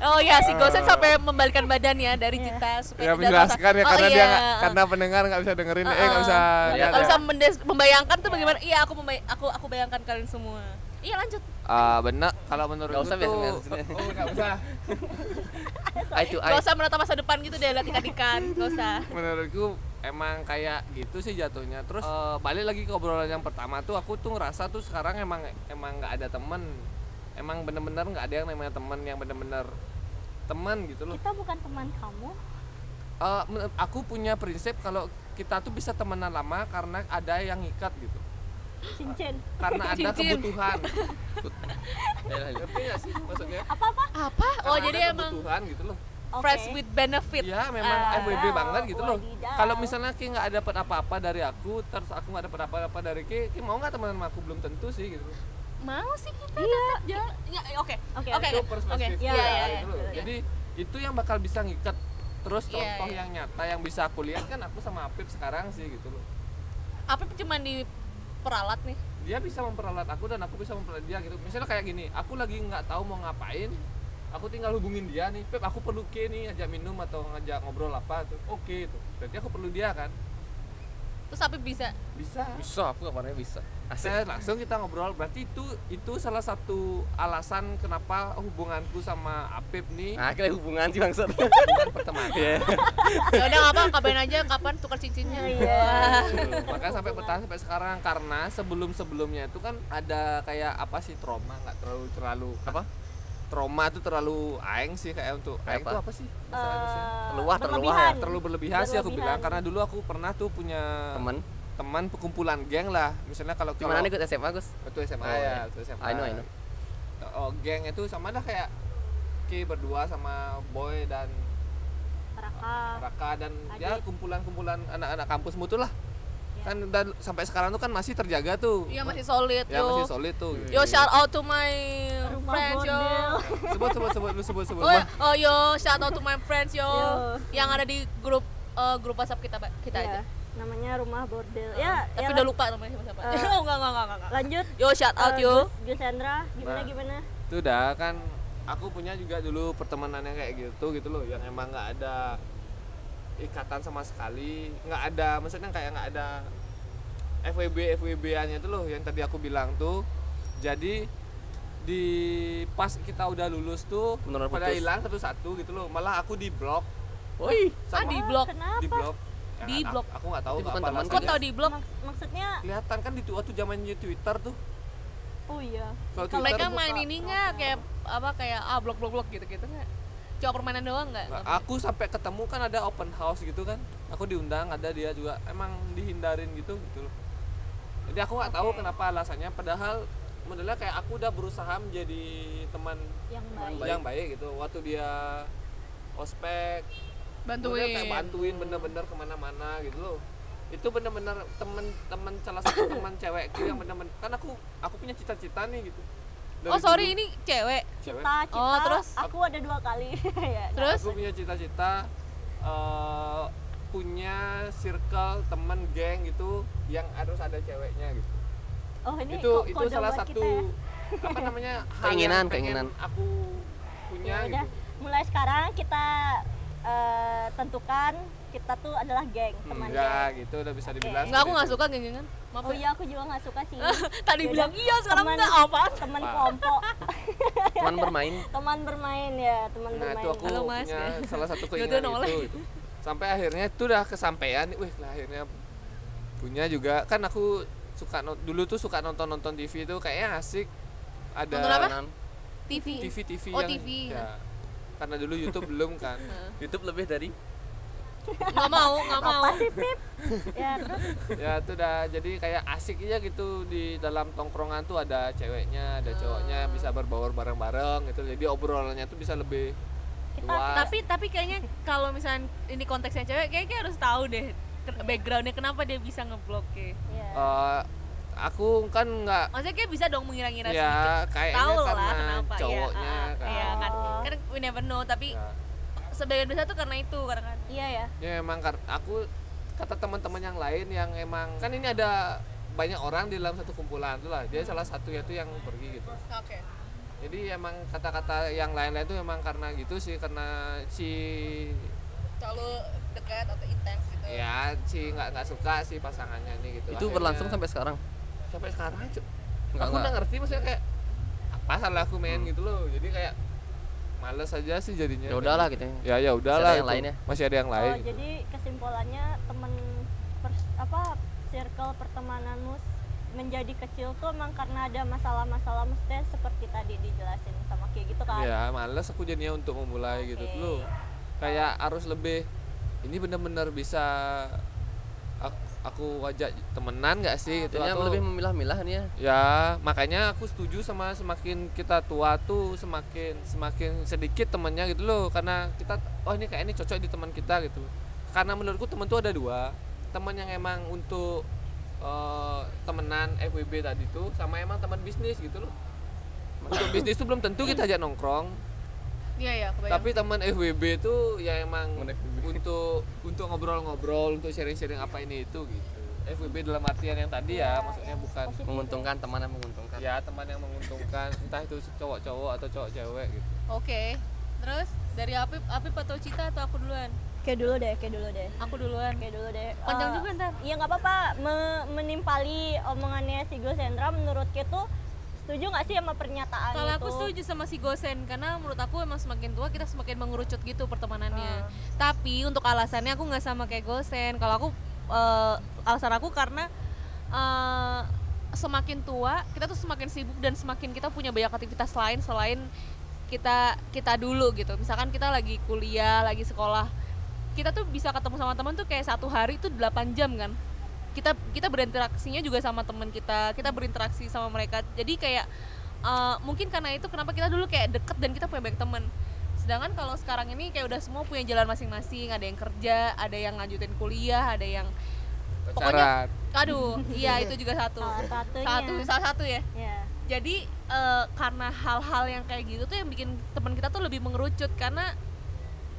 Oh iya, si Gosen sampai membalikkan badan ya dari Cita
ya
supaya tidak terasa-
Eh. menjelaskan ya
Oh,
karena dia
iya. Ah, Uh-uh.
nggak- karena pendengar nggak bisa dengerin, eh nggak bisa
Nggak
lihat. ya.
ya.
bisa mendes- membayangkan tuh bagaimana. Iya, aku membayang, aku aku bayangkan kalian semua. Iya, lanjut.
Ah, benar kalau menurut
Nggak usah,
tuh-
biar-
oh, nggak usah.
eye to
Gak
eye
usah menata masa depan gitu deh, lihat ikan-ikan. Gak usah.
menurutku emang kayak gitu sih jatuhnya terus eh, balik lagi ke obrolan yang pertama tuh aku tuh ngerasa tuh sekarang emang emang nggak ada temen emang bener-bener nggak ada yang namanya temen yang bener-bener temen gitu loh
kita bukan teman kamu
Eh, menurut aku punya prinsip kalau kita tuh bisa temenan lama karena ada yang ngikat gitu
cincin
karena ada
Cincin.
kebutuhan ngerti nggak sih maksudnya
apa apa
Apa? Oh,
Karena ada
jadi emang
kebutuhan gitu loh
fresh with benefit.
Iya, memang
Ah.
FWB banget gitu loh.
Wadidaw.
Kalau misalnya Ki nggak dapat apa-apa dari aku, terus aku nggak dapat apa-apa dari Ki, Ki mau nggak temenan sama aku? Belum tentu sih gitu.
mau sih kita tetap jalan ya Iya, oke
Oke,
oke
Itu perspektif
iya
ya,
iya
gitu
iya.
loh. Jadi itu yang bakal bisa ngikat. Terus
Iya,
contoh
iya.
yang nyata yang bisa aku lihat kan aku sama Apip sekarang sih gitu loh.
apa cuma di peralat nih
Dia bisa memperalat aku dan aku bisa memperalat dia gitu. Misalnya kayak gini, aku lagi nggak tahu mau ngapain, aku tinggal hubungin dia nih, Pep aku perlu Ki nih ajak minum atau ngajak ngobrol apa tuh. Oke itu. Berarti aku perlu dia kan?
terus tapi bisa
Bisa.
bisa aku kamarnya bisa asik
Saya langsung kita ngobrol berarti itu itu salah satu alasan kenapa hubunganku sama Apip nih
nah akhirnya hubungan sih maksud
bukan pertemanan
Iya.
ya udah apa kabarin aja kapan tukar cincinnya
iya
maka sampai bertahan sampai sekarang karena sebelum sebelumnya itu kan ada kayak apa sih trauma nggak terlalu terlalu apa trauma itu terlalu aeng sih kayak untuk aeng
Apa?
itu apa sih bahasa Indonesia?
Terluah,
ya,
berlebihan.
terlalu berlebihan sih aku bilang
Eh, Berlebihan.
karena dulu aku pernah tuh punya
teman
teman perkumpulan geng lah misalnya kalau
gimana
kalau-
nih ikut SMA Gus
Itu SMA
Oh,
ya,
iya.
itu SMA.
I know, I know.
Oh, geng itu sama lah kayak Ki berdua sama Boy dan
Raka.
Raka dan ya
Adit.
kumpulan-kumpulan anak-anak kampusmu tuh lah.
Iya.
Kan dan sampai sekarang tuh kan masih terjaga tuh.
iya masih solid
Ya,
yo
masih solid tuh.
yo shout out to my
Rumah
friends yo
bordel.
Iya. Sebut sebut sebut lu sebut sebut.
oh,
Wah,
oh yo shout out to my friends yo
Yo.
yang ada di grup eh, grup WhatsApp kita Pak. kita
Ya,
aja
namanya rumah bordel. Ya,
tapi
ya
udah
lan-
lupa namanya siapa siapa
Eh.
oh enggak enggak enggak enggak
lanjut.
yo shout out
Eh,
yo
Gus- Gus Hendra, gimana
Nah.
gimana?
Itu dah kan aku punya juga dulu pertemanan yang kayak gitu gitu loh yang emang nggak ada ikatan sama sekali nggak ada maksudnya kayak nggak ada FWB FWB annya itu loh yang tadi aku bilang tuh jadi di pas kita udah lulus tuh
Beneran
pada
putus.
hilang satu-satu gitu loh malah aku di blok
woi
ah
sama
di blok
Kenapa?
di blok Ya,
Di
nggak
blok.
tahu. aku nggak tahu
Itu bukan
apa
teman
kok
alasannya.
tau di blok
Mak- maksudnya
kelihatan kan di waktu zamannya Twitter tuh
oh iya.
kalau
mereka
buka.
main ini nggak kayak apa kayak ah blok blok blok gitu gitu nggak cuma permainan doang nggak
Nah, aku sampai ketemu kan ada open house gitu kan aku diundang ada dia juga emang dihindarin gitu gitu loh jadi aku nggak tahu kenapa alasannya padahal modelnya kayak aku udah berusaha menjadi teman
yang
teman
baik.
yang baik gitu waktu dia ospek
bantuin
Udah kayak bantuin bener-bener kemana-mana gitu loh itu bener-bener temen-temen salah satu teman cewekku yang bener-bener kan aku aku punya cita-cita nih gitu Dari
oh
dulu,
sorry ini cewek
cewek
Cita, cita,
Oh, terus?
aku ada dua kali. ya,
terus
aku punya cita-cita eh, punya circle temen geng gitu yang harus ada ceweknya gitu
Oh ini
itu
ko-
itu
kode
salah
buat
satu
kita ya.
apa namanya hal
Keinginan,
yang pengen
keinginan.
aku punya
Ya udah,
gitu
mulai sekarang kita eh, tentukan kita tuh adalah geng teman
enggak
geng.
gitu udah bisa dibilang
nggak aku
seperti
nggak
itu.
suka geng-gengan maaf
Oh
ya.
iya aku juga nggak suka sih.
tadi
Yaudah,
bilang iya sekarang
teman-
enggak apa
Teman kelompok,
teman bermain
teman bermain ya, teman
nah
bermain.
itu aku
Halo, Mas.
punya salah satu
Jodoh
keinginan
noleh.
itu gitu. sampai akhirnya itu udah kesampaian wih lah akhirnya punya juga kan aku suka no- dulu tuh suka nonton nonton TV itu kayaknya asik ada
Nonton apa?
Kanan.
TV
TV TV
Oh,
yang
TV.
ya, karena dulu YouTube belum kan
YouTube lebih dari
nggak mau nggak mau
Ya terus
ya itu udah jadi kayak asik aja gitu di dalam tongkrongan tuh ada ceweknya ada
Ah.
cowoknya bisa berbaur bareng bareng gitu jadi obrolannya tuh bisa lebih luas
tapi tapi kayaknya kalau misalnya ini konteksnya cewek kayaknya harus tahu deh ke- backgroundnya kenapa dia bisa ngeblok ya
ya.
Eh, aku kan nggak
maksudnya kayak bisa dong mengira-ngira sedikit
ya kayaknya
tahu
karena
lah kenapa
cowoknya
ya, ah,
kan.
ya kan kan we never know tapi
Ya.
sebagian besar tuh karena itu karena kan
Iya ya.
ya emang kar- aku kata teman-teman yang lain yang emang kan ini ada banyak orang di dalam satu kumpulan tuh lah
Hmm.
dia salah satu itu yang pergi gitu
oke
jadi emang kata-kata yang lain-lain tuh emang karena gitu sih karena si
terlalu dekat atau intens gitu
ya si nggak nggak suka si pasangannya ini gitu
itu
Akhirnya-
berlangsung sampai sekarang
sampai sekarang Cuk.
Nggak,
aku
nggak.
udah ngerti maksudnya kayak apa salah aku main gitu loh jadi kayak males aja sih jadinya
ya udahlah gitu ya.
ya ya udahlah
yang
itu.
lainnya.
masih ada yang lain
Oh, jadi kesimpulannya teman pers- apa circle pertemananmu s- menjadi kecil tuh emang karena ada masalah-masalah mesti seperti tadi dijelasin sama kayak gitu kan.
ya males aku jadinya untuk memulai gitu
Oke.
dulu kayak harus lebih ini bener-bener bisa aku, aku ajak temenan nggak sih gitu
Jadinya
atau-
lebih memilah-milah nih ya
ya makanya aku setuju sama semakin kita tua tuh semakin semakin sedikit temennya gitu loh karena kita oh ini kayak ini cocok di teman kita gitu karena menurutku temen tuh ada dua teman yang emang untuk eh, temenan FWB tadi tuh sama emang teman bisnis gitu loh untuk bisnis tuh belum tentu kita ajak nongkrong
iya iya kebayang
tapi teman FWB tuh ya emang untuk untuk ngobrol-ngobrol untuk sharing-sharing apa ini itu gitu FWB dalam artian yang tadi ya maksudnya bukan
menguntungkan teman yang menguntungkan
ya teman yang menguntungkan entah itu cowok-cowok atau cowok-cewek gitu
oke terus dari Apip Apip atau Cita atau aku duluan
Kayak dulu deh, kayak dulu deh.
aku duluan
Kayak dulu deh.
panjang
Eh,
juga ntar
Iya nggak apa-apa. Me- menimpali omongannya si Gus Hendra menurut kita setuju nggak sih sama pernyataan
Kalau
itu?
aku setuju sama si Gosen karena menurut aku emang semakin tua kita semakin mengerucut gitu pertemanannya. Tapi untuk alasannya aku nggak sama kayak Gosen. Kalau aku eh, alasan aku karena eh, semakin tua kita tuh semakin sibuk dan semakin kita punya banyak aktivitas lain selain kita kita dulu gitu. Misalkan kita lagi kuliah, lagi sekolah, kita tuh bisa ketemu sama teman tuh kayak satu hari itu 8 jam kan kita kita berinteraksinya juga sama teman kita kita berinteraksi sama mereka jadi kayak eh, mungkin karena itu kenapa kita dulu kayak deket dan kita punya banyak teman sedangkan kalau sekarang ini kayak udah semua punya jalan masing-masing ada yang kerja ada yang lanjutin kuliah ada yang
pacaran
aduh iya itu juga satu
Salah satunya.
satu salah satu ya
Ya.
jadi eh, karena hal-hal yang kayak gitu tuh yang bikin teman kita tuh lebih mengerucut karena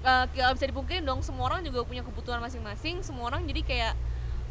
eh, nggak bisa dipungkiri dong semua orang juga punya kebutuhan masing-masing semua orang jadi kayak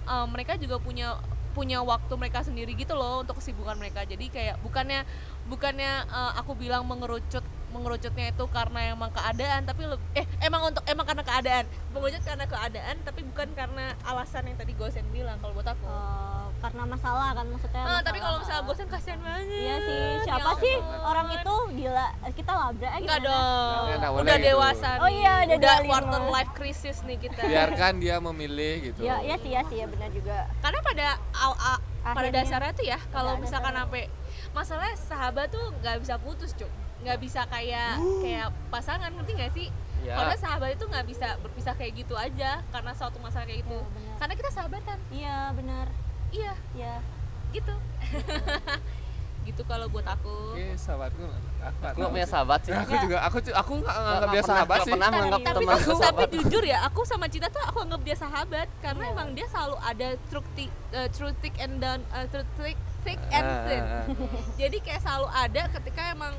eh, mereka juga punya punya waktu mereka sendiri gitu loh untuk kesibukan mereka jadi kayak bukannya bukannya eh, aku bilang mengerucut mengerucutnya itu karena emang keadaan tapi leb- eh emang untuk emang karena keadaan mengerucut karena keadaan tapi bukan karena alasan yang tadi Gosen bilang kalau buat aku
Eh, karena masalah kan maksudnya.
Ah, tapi
masalah.
kalau misalnya Gosen kasihan banget
Iya sih, siapa
Ya
sih
ampun.
orang itu gila kita labrak aja.
Enggak
gimana?
dong.
Jangan, nggak boleh
udah
gitu.
dewasa.
Oh
nih.
iya, udah
udah
25.
quarter life crisis nih kita.
biarkan dia memilih gitu
Ya, ya sih, ya sih, ya benar juga.
Karena pada aw- a- pada
Akhirnya.
dasarnya tuh ya, kalau
ada
misalkan
cara.
sampai masalah sahabat tuh nggak bisa putus, Cuk. nggak bisa kayak
Uh.
kayak pasangan ngerti nggak sih
Ya.
karena sahabat itu nggak bisa berpisah kayak gitu aja karena suatu masalah kayak gitu
Iya, benar.
karena kita sahabatan
iya benar
iya
iya
gitu gitu kalau buat aku
Oke, sahabatku. Aku nggak
Aku nggak
tahu
punya
sih.
sahabat sih.
Aku juga, aku cu- aku nggak nggak
Nggak
biasa
pernah-
sahabat
nggak
sih.
pernah menganggap
tapi
teman
tuh-
aku
tapi
sahabat. Hmm.
jujur ya aku sama Cita tuh aku anggap dia sahabat karena
Iya.
emang dia selalu ada through thick, eh, through thick and down eh, through thick thick and
Ah,
thin
ah,
jadi kayak selalu ada ketika emang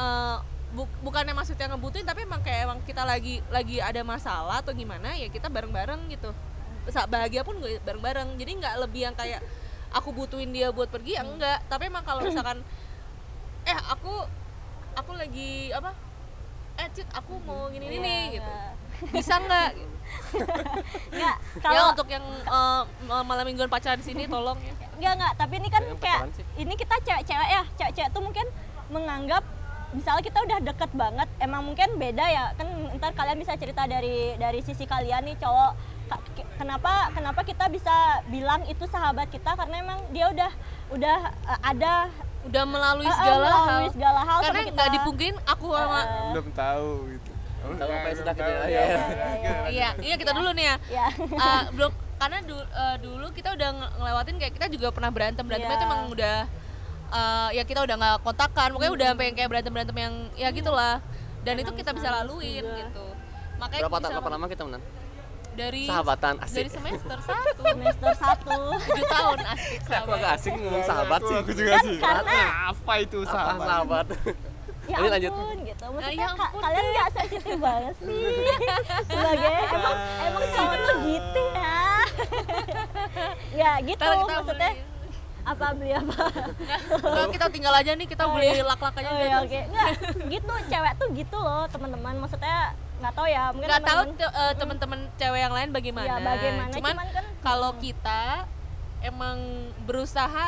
eh, bu- bukannya maksudnya ngebutuhin tapi emang kayak emang kita lagi lagi ada masalah atau gimana ya kita bareng bareng gitu saat bahagia pun gue bareng bareng jadi nggak lebih yang kayak aku butuhin dia buat pergi ya enggak tapi emang kalau misalkan eh aku aku lagi apa eh Cit aku mau gini gini nih,"
Iya,
Iya,
gitu bisa nggak
nggak
ya
kalau
untuk yang eh, malam mingguan pacaran di sini tolong ya
nggak nggak tapi ini kan
Kayaknya
kayak
pacaran sih.
ini kita cewek-cewek ya cewek-cewek tuh mungkin menganggap misalnya kita udah deket banget emang mungkin beda ya kan ntar kalian bisa cerita dari dari sisi kalian nih cowok Ka- ke- kenapa kenapa kita bisa bilang itu sahabat kita karena emang dia udah udah eh, ada
udah melalui
eh, eh,
segala hal
melalui segala hal
karena
sama kita.
nggak dipungkirin aku sama
Eh,
Belum tahu gitu.
Tahu apa yang sudah
Belum tahu.
kejadian.
Eh,
iya iya kita dulu nih ya
ya
Eh, belum karena du- eh, dulu kita udah nge- ngelewatin kayak kita juga pernah berantem berantem
Iya.
itu emang udah eh, ya kita udah nggak kontakan pokoknya udah sampai yang kayak berantem berantem yang ya gitulah dan itu kita bisa laluin gitu makanya
Berapa
bisa
berapa lama kita menan?
dari
Sahabatan asik.
dari semester satu
semester satu
Iya
tujuh tahun asik
Aku agak asik ngomong sahabat
Aku-
sih.
Aku
Kan
juga sih. Apa itu
Apa
sahabat?
sahabat?
ya
Tapi lanjut.
ampun gitu maksudnya
ya
ka-
ampun,
kalian nggak sensitif banget sih sebagai emang emang cowok tuh
Iya.
gitu ya ya gitu
Ntar kita
maksudnya
beli-
apa ya, beli apa
Ntar kita tinggal aja nih kita beli lak-lak aja
oh
udah
ya
terus.
oke nggak gitu cewek tuh gitu loh teman-teman maksudnya nggak tahu ya mungkin
nggak tahu
teman-teman-
te- eh, teman-teman cewek yang lain bagaimana.
Ya, bagaimana,
Cuman,
cuman kan-
kalau kita emang berusaha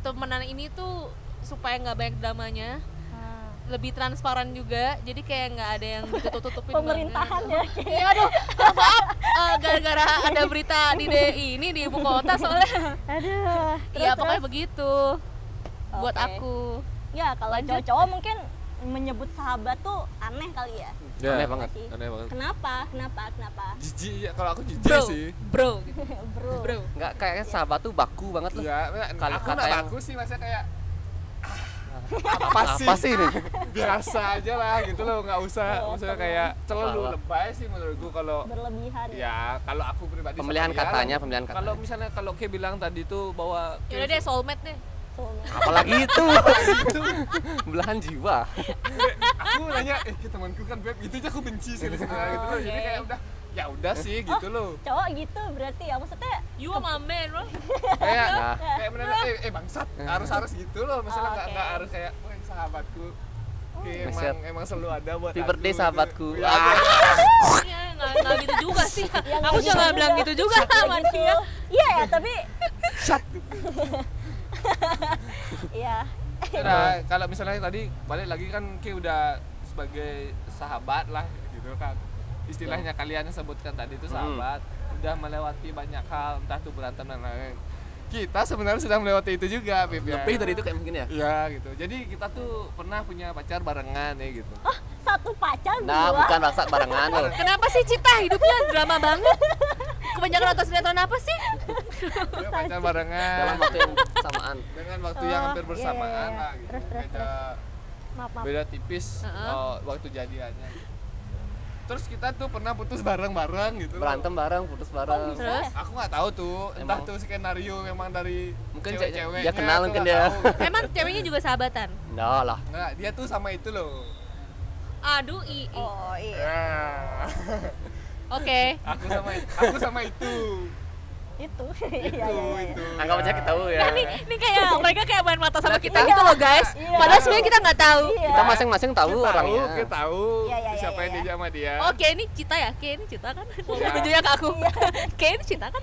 temenan ini tuh supaya nggak banyak dramanya,
Hmm.
lebih transparan juga. Jadi kayak nggak ada yang ditutup-tutupin. banget.
pemerintahan ya kayak
Iya aduh, oh, maaf Eh, gara-gara ada berita di DI ini di ibu kota soalnya.
aduh
Iya
Terus,
pokoknya
terus.
begitu. Buat
Oke.
aku.
ya kalau
Lanjut.
cowok-cowok mungkin menyebut sahabat tuh aneh kali ya
Aneh banget.
Sih.
Aneh banget.
kenapa kenapa kenapa
Jijik ya kalau aku jijik
Bro,
sih.
bro, gitu.
bro
bro.
Enggak kayak sahabat tuh baku banget loh.
Iya,
Kalau
aku
kata
nggak
yang-
bagus sih maksudnya kayak
Apa,
sih?
sih ini?
biasa aja lah gitu loh, nggak usah maksudnya kayak terlalu
Salah.
lebay sih menurutku kalau
berlebihan
ya kalau aku pribadi sama
Pemilihan
dia,
katanya, pemilihan katanya.
kalau misalnya kalau Kay bilang tadi tuh bahwa Kay
Yaudah Ya deh soulmate deh.
soalnya.
Apalagi itu. Belahan jiwa.
aku nanya eh ke temanku kan beb gitu aja aku benci sih sebenarnya gitu loh jadi
oke.
kayak udah ya udah sih gitu loh
cowok gitu berarti ya maksudnya
You are my man, bro.
kayak
Nah.
kayak menurut eh, eh bangsat harus harus gitu loh misalnya nggak
Oke.
nggak harus kayak wah ini sahabatku Oke,
Buset.
emang, emang selalu ada buat
Happy
aku,
birthday
gitu.
sahabatku.
Iya,
Ah.
Iya, nggak nggak gitu juga sih.
nggak
aku
gitu
juga nggak
juga.
bilang gitu juga sama
gitu.
dia.
iya ya tapi iya
Nah,
Iya.
kalau misalnya tadi balik lagi kan Ki udah sebagai sahabat lah gitu kan. Istilahnya
Iya.
kalian sebutkan tadi
Hmm.
itu sahabat, udah melewati banyak hal, entah itu berantem dan lain-lain. Kita sebenarnya sudah melewati itu juga, Bib. ya.
Lebih dari itu kayak mungkin ya.
Iya, gitu. Jadi kita tuh pernah punya pacar barengan ya gitu.
oh satu pacar
Nah,
berdua
bukan raksa barengan loh.
Kenapa sih Cita hidupnya drama banget? Kebanyakan nonton sinetron apa sih?
Punya Iya, pacar barengan
Dalam waktu yang samaan.
dengan waktu yang
Oh,
hampir
iya,
bersamaan
iya,
lah
iya.
gitu.
Terus, terus,
Beda
maaf maaf
beda tipis
Heeh.
oh, waktu jadiannya. Terus kita tuh pernah putus bareng-bareng gitu. loh.
Berantem bareng, putus bareng.
Terus?
aku nggak tahu tuh entah
Emang?
tuh skenario memang dari
Mungkin
cewek-ceweknya
dia kenal
aku
mungkin
nggak
kan dia.
tahu.
Emang ceweknya juga sahabatan.
Enggak lah.
nggak dia tuh sama itu loh
Aduh, i. i.
oh iya
Ah,
Oke.
aku sama itu aku sama itu
itu
itu
iya iya iya.
itu
Anggap aja kita tahu ya.
Nah, nih, nih kayak mereka kayak main mata
Nah,
sama kita
kita-
gitu loh guys.
Iya.
Padahal sebenarnya kita nggak tahu.
Iya.
Kita masing-masing tahu
kita tahu
orangnya.
kita tahu
Iya, iya, iya,
siapa yang
iya.
dia sama dia
Oke, ini Cita ya? Oke, ini Cita kan? Tunjuknya ke aku.
Iya.
Oke, ini Cita kan?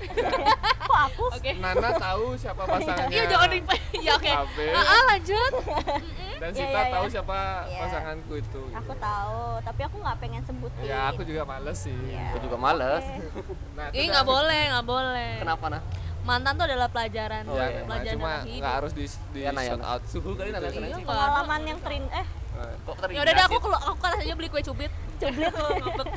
kok aku
Oke.
Nana tahu siapa pasangannya
Iya, jangan di... Ya, oke.
Abe.
Ah, ah, lanjut.
dan
Iya,
Sita
iya, iya.
tahu siapa
Iya.
pasanganku itu
aku tahu tapi aku nggak pengen sebutin
ya aku juga males sih
Aku
Iya.
juga males.
nah, itu
Ini
kan-
nggak boleh, nggak boleh.
Kenapa nah?
Mantan tuh adalah pelajaran.
ya,
iya.
memang.
Pelajaran
cuma
dalam hidup.
nggak harus di, di
Iya, nah, ya,
shout
nah.
out suhu kali
Iya,
namanya
nggak
pengalaman yang terin eh
Kok
Ya udah deh aku
sih?
kalau aku kan rasanya beli kue cubit. Cubit ngambek.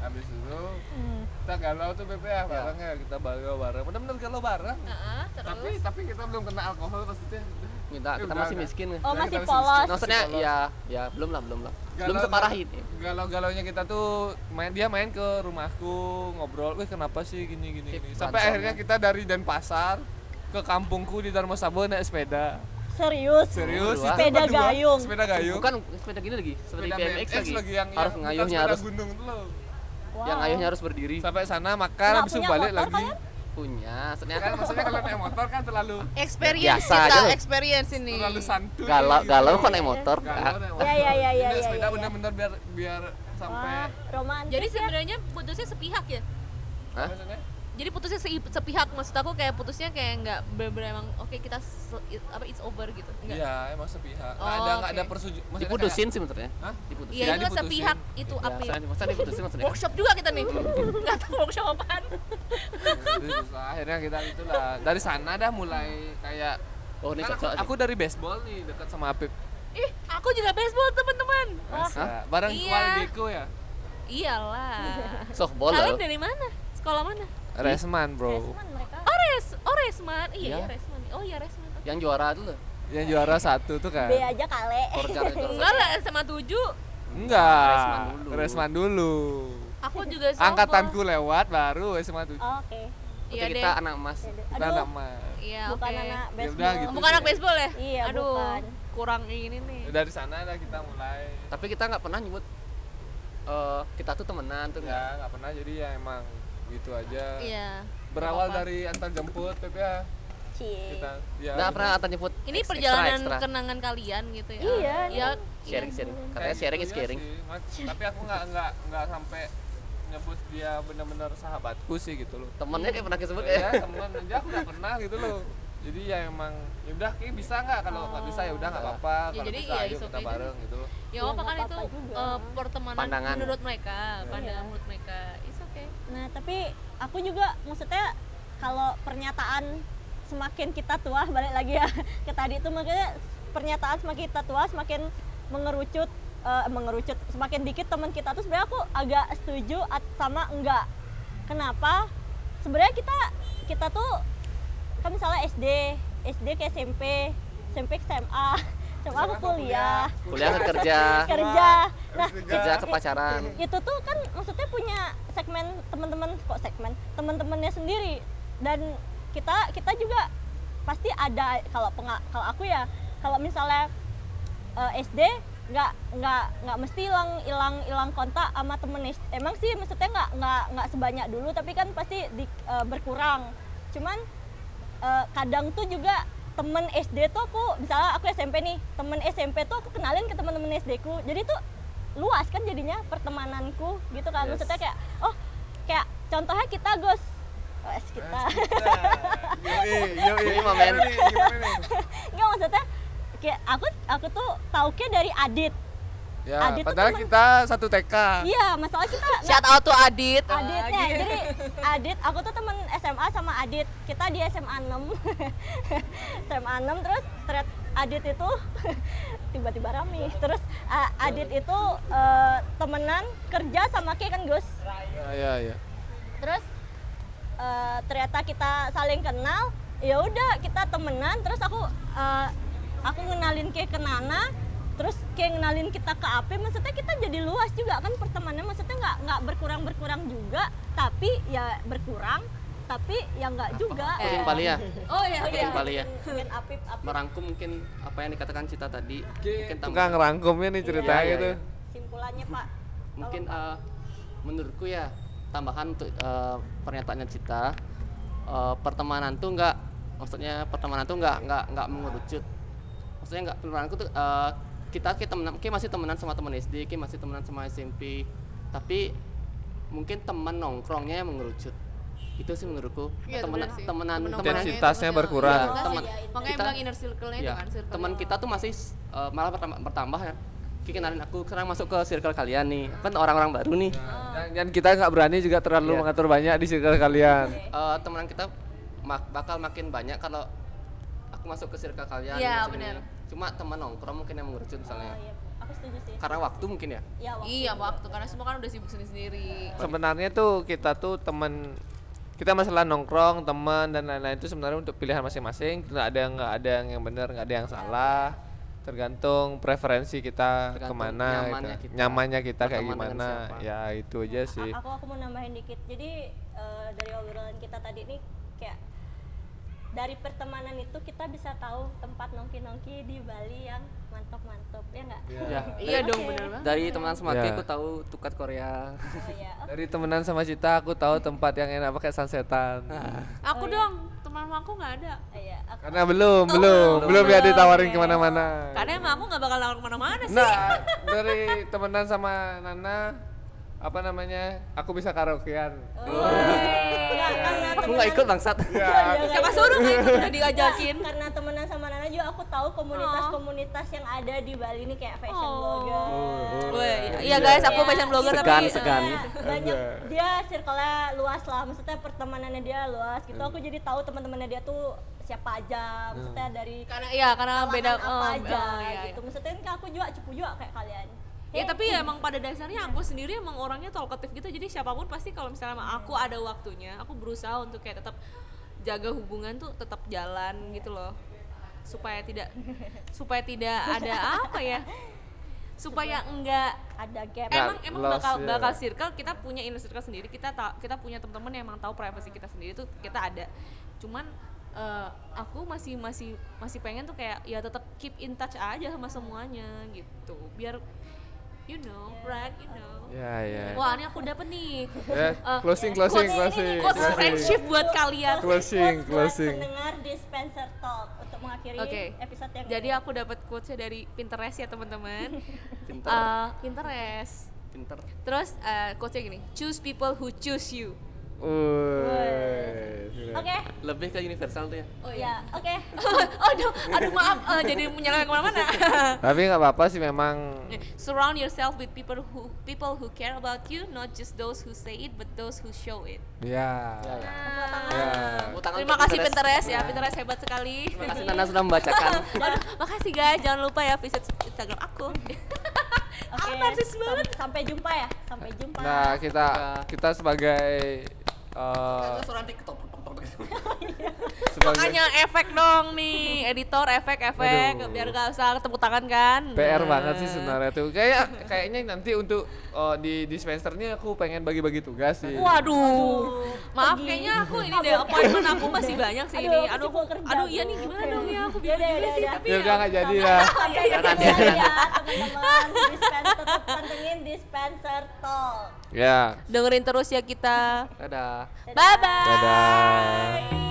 habis itu
hmm.
kita galau tuh BPA barengnya ya, kita galau bareng benar-benar galau bareng
Heeh,
tapi
terus
tapi kita belum kena alkohol maksudnya
Minta,
Eh,
kita
udah,
masih
udah.
miskin nggak?
Oh,
Nah,
masih
kita
polos.
masih
Maksudnya
polos.
ya ya belum lah, belum lah. Belum
Galau-
separah ini.
galau-galaunya kita tuh main dia main ke rumahku ngobrol, wih kenapa sih gini gini,
Kayak
gini.
berantem,
sampai akhirnya
ya.
kita dari Denpasar ke kampungku di Dharma Sabo naik sepeda
Serius.
serius itu
berdua.
Sepeda
berdua,
gayung.
sepeda gayung
Bukan sepeda gini lagi,
sepeda
sepeda
Eh,
BMX, lagi.
yang
harus
yang-
ngayuhnya
bukan sepeda
harus
gunung tuh loh.
yang ngayuhnya harus berdiri.
sampai sana makan
Nggak
habis itu
punya
balik
motor
lagi
Punya, maksudnya
kan maksudnya kalau naik motor kan terlalu
experience
Biasa aja
kita,
lu.
experience ini.
terlalu santuy
galau
gitu.
galau Ah. kok naik motor.
galau naik motor
Ya, ya, ya, ya,
Ini
ya,
sepeda
ya, ya.
bener-bener biar biar sampai
Wah, romantis. ya.
Jadi sebenarnya putusnya sepihak ya.
Hah?
maksudnya
Jadi putusnya se- sepihak maksud aku kayak putusnya kayak nggak bener-bener emang oke kita se- it- apa it's over gitu. Enggak.
iya emang sepihak
Oh,
nggak ada nggak ada
oke.
persetujuan maksudnya
Diputusin sih maksudnya.
kayak, Hah?
Diputusin.
Ya,
Iya, itu kan
diputusin.
sepihak itu
Ya,
apa ya?
maksudnya- maksudnya diputusin maksudnya.
Workshop juga kita nih. Enggak tahu workshop apaan.
Terus akhirnya kita itulah dari sana dah mulai kayak
Oh, ini
Kan aku,
cocok. sih.
aku dari baseball nih dekat sama Apip
Ih, aku juga baseball, teman-teman.
Oh.
Masa? bareng
Iya.
keluargaku ya
Iyalah.
softball
Kalian
loh.
dari mana? Sekolah mana?
Resman bro
Cuman mereka
Oh, Res, oh Resman. Iya,
Iya.
iya Resman. Oh iya Resman.
Yang juara dulu.
yang juara satu tuh kan
B aja kale.
Korcar
Enggak lah SMA 7.
enggak
Resman dulu.
Resman dulu
Aku juga sama.
angkatanku lewat baru SMA tuh
Oh, Oke.
Iya deh.
kita anak emas.
kita
Aduh,
anak mas
Iya, oke.
bukan anak
udah
baseball.
gitu.
Bukan anak baseball ya?
Iya,
Aduh,
bukan.
kurang ini nih.
dari sana dah kita mulai
Tapi kita nggak pernah nyebut eh kita tuh temenan tuh
ya
enggak.
nggak pernah jadi ya emang gitu aja
Iya.
berawal
Nggak apa-apa.
dari antar jemput PPA
Cie.
kita ya
Nggak
gitu.
pernah antar nyebut.
iya. Ini
extra,
perjalanan
extra.
kenangan kalian gitu ya.
Iya,
Ya, iya.
sharing sharing.
Kayak
Katanya sharing
gitu
is
ya
caring.
sih, Mas. tapi aku nggak nggak nggak sampai nyebut dia benar-benar sahabatku sih gitu loh
Temennya kayak pernah
Iya
disebut ya.
ya teman aja aku udah pernah gitu loh jadi ya emang ya udah ki bisa nggak kalau nggak bisa ya udah nggak apa-apa
Ya,
kalau
jadi
bisa
ya
ayo
it's
kita
okay juga
bareng gitu
Ya, apa kan itu
Iya, apa-apa juga.
eh, pertemanan
Pandangan.
menurut mereka, pandangan
Iya.
menurut mereka. It's okay.
Nah, tapi aku juga maksudnya kalau pernyataan semakin kita tua balik lagi ya ke tadi itu makanya pernyataan semakin kita tua semakin mengerucut eh, mengerucut semakin dikit teman kita tuh sebenarnya aku agak setuju at- sama enggak. Kenapa? Sebenarnya kita kita tuh kan misalnya SD, SD ke SMP, SMP ke SMA, SMA aku kuliah,
Kuliah ke kerja,
kerja. Nah,
kerja ke pacaran.
itu tuh kan maksudnya punya segmen teman-teman kok segmen teman-temannya sendiri dan kita kita juga pasti ada kalau penga- kalau aku ya kalau misalnya eh, SD nggak nggak nggak mesti hilang hilang hilang kontak sama temen SD. emang sih maksudnya nggak nggak nggak sebanyak dulu tapi kan pasti di- eh, berkurang cuman eh, kadang tuh juga temen SD tuh aku misalnya aku SMP nih temen SMP tuh aku kenalin ke temen-temen SD ku jadi tuh luas kan jadinya pertemananku gitu kan
Yes.
maksudnya kayak oh kayak contohnya kita Gus Wes, kita
yo
Ini mah, men.
nggak maksudnya kayak aku aku tuh tauke dari Adit
ya
Adit tuh
padahal
temen-
kita satu TK
iya masalah kita nggak-
Shout out to Adit.
Gitu.
Aditnya, jadi Adit, aku tuh temen SMA sama Adit Kita di SMA 6 SMA 6, terus thread Adit itu tiba-tiba rame Terus uh, Adit itu uh, temenan kerja sama Ki kan Gus
ya ya, ya.
Terus uh, ternyata kita saling kenal ya udah kita temenan terus aku uh, aku ngenalin Ki ke Nana terus kayak ngenalin kita ke AP maksudnya kita jadi luas juga kan pertemanannya maksudnya nggak nggak berkurang berkurang juga tapi ya berkurang tapi ya nggak juga
Kucing pali ya.
Oh iya, oke.
Kucing pali ya.
mungkin Apip Apip
Merangkum mungkin apa yang dikatakan Cita tadi. Mungkin tam-
tukang rangkumnya nih ceritanya
Iya, iya,
gitu
iya.
simpulannya Pak
mungkin eh, menurutku ya tambahan untuk eh, pernyataannya Cita eh, pertemanan tuh nggak maksudnya pertemanan tuh nggak nggak nggak mengerucut maksudnya nggak pertemananku tuh eh, kita kita temenan kita masih temenan sama teman SD kita masih temenan sama SMP tapi mungkin teman nongkrongnya yang mengerucut itu sih menurutku
Iya,
temenan
bener sih.
temenan
Temen
temenan
nongkrongnya
Intensitasnya
itu maksudnya-
berkurang.
Iya,
Iya,
teman.
Makanya
Kita-
bilang inner circle-nya itu
Iya,
kan, circle.
teman kita tuh masih eh, malah bertambah, bertambah kan. Ki kenalin aku, sekarang masuk ke circle kalian nih. Kan orang-orang baru nih.
dan, dan kita nggak berani juga terlalu
Iya.
mengatur banyak di circle kalian
Eh, temenan kita mak- bakal makin banyak kalau aku masuk ke circle kalian.
Iya,
di sini.
bener.
cuma teman nongkrong mungkin yang mengerucut misalnya
Iya, aku setuju sih.
karena waktu mungkin ya
Iya, waktu.
Iya waktu karena semua kan udah sibuk sendiri-sendiri.
Iya.
sebenarnya tuh kita tuh temen kita masalah nongkrong teman dan lain-lain itu sebenarnya untuk pilihan masing-masing nggak ada nggak ada yang benar nggak ada yang salah tergantung preferensi kita
Tergantung
kemana
nyamannya
gitu.
kita.
nyamannya kita kayak
Berteman dengan
gimana
siapa.
ya itu aja
A-
sih
aku aku mau nambahin dikit. Jadi eh, dari obrolan kita tadi nih kayak dari pertemanan itu kita bisa tahu tempat nongki-nongki di Bali yang mantap-mantap ya nggak?
Ya.
Iya dong
Oke.
bener banget.
dari teman semaki
Ya.
aku tahu tukat Korea
Oh iya. Oh,
dari temenan sama Cita aku
Hmm.
tahu tempat yang enak pakai sunsetan
Aku dong teman aku nggak ada.
iya. Aku,
karena
Oh,
belum belum belum ya ditawarin kemana-mana
Karena emang aku nggak bakal lama kemana-mana sih.
Nah, dari temenan sama Nana apa namanya? Aku bisa karaokean.
Oh.
Nggak,
Iya,
karena
aku nggak ikut bangsat
Ya,
Siapa suruh kan itu udah diajakin.
Nggak, gitu. karena temenan sama Nana juga aku tahu komunitas-komunitas yang ada di Bali nih kayak fashion
Oh.
blogger.
Weh, iya guys, aku fashion blogger
Segan,
tapi eh,
segan.
Iya, banyak dia circle-nya luas lah maksudnya pertemanannya dia luas gitu
Iya.
aku jadi tahu teman-temannya dia tuh siapa aja maksudnya dari
karena iya karena
kalangan
beda
apa
em,
aja
em, iya,
gitu maksudnya kan aku juga cepu juga kayak kalian
Ya tapi ya emang pada dasarnya aku sendiri emang orangnya talkative gitu jadi siapapun pasti kalau misalnya sama aku ada waktunya aku berusaha untuk kayak tetap jaga hubungan tuh tetap jalan gitu loh supaya tidak supaya tidak ada apa ya supaya enggak
ada gap
emang
Nggak
emang
lost,
bakal
ya.
bakal circle kita punya inner circle sendiri kita ta- kita punya teman-teman yang emang tahu privacy kita sendiri tuh kita ada cuman eh, aku masih masih masih pengen tuh kayak ya tetap keep in touch aja sama semuanya gitu biar you know right you know
Ya, ya.
wah ini aku dapet nih
Ya,
Eh,
closing, closing,
quotes-
closing,
quotes
closing.
friendship buat kalian
Closing,
Quotes buat
closing.
pendengar di Spencer Talk untuk mengakhiri
Oke.
episode yang
jadi
ini.
aku dapat quotesnya dari Pinterest ya teman-teman
pinter
Eh, Pinterest
pinter
terus eh, quotesnya gini choose people who choose you
Woi.
oke
lebih ke universal tuh ya
Oh, iya.
ya oke
aduh, Oh, aduh maaf, eh, jadi menyeleweng kemana-mana.
Tapi nggak apa-apa sih memang
Surround yourself with people who people who care about you, not just those who say it, but those who show it.
ya.
ya, ya.
Ya.
Nah.
Nah.
Tepuk tangan
Terima
untuk
kasih Pinterest ya, Pinterest hebat sekali.
terima kasih Nana sudah membacakan Eh.
Aduh, makasih guys, jangan lupa ya visit Instagram
Oh,
aku.
iya.
oke
Ah, narsis banget.
Sam- sampai jumpa ya sampai jumpa
Nah, kita kita sebagai eh,
suara TikTok
sebagai
Makanya efek dong nih, editor efek-efek
Aduh.
biar gak usah ketemu tangan kan.
PR
Nah.
banget sih sebenarnya tuh. Kayak kayaknya nanti untuk eh, di dispensernya aku pengen bagi-bagi tugas sih.
Waduh. Maaf
pergi.
kayaknya aku ini
Kabur
deh
kayak
appointment aku masih banyak sih
Aduh,
ini.
aku
Aduh,
sibuk
aku,
kerja, Iya,
aduh iya
Bu.
nih gimana dong ya
Yaudah,
aku bingung juga
yaudah,
sih
yaudah.
tapi
Ya
ya.
udah nggak jadi lah.
Nanti ya teman-teman dispenser tetap pantengin dispenser talk.
Ya.
Dengerin terus ya kita.
dadah
Bye bye.
Dadah.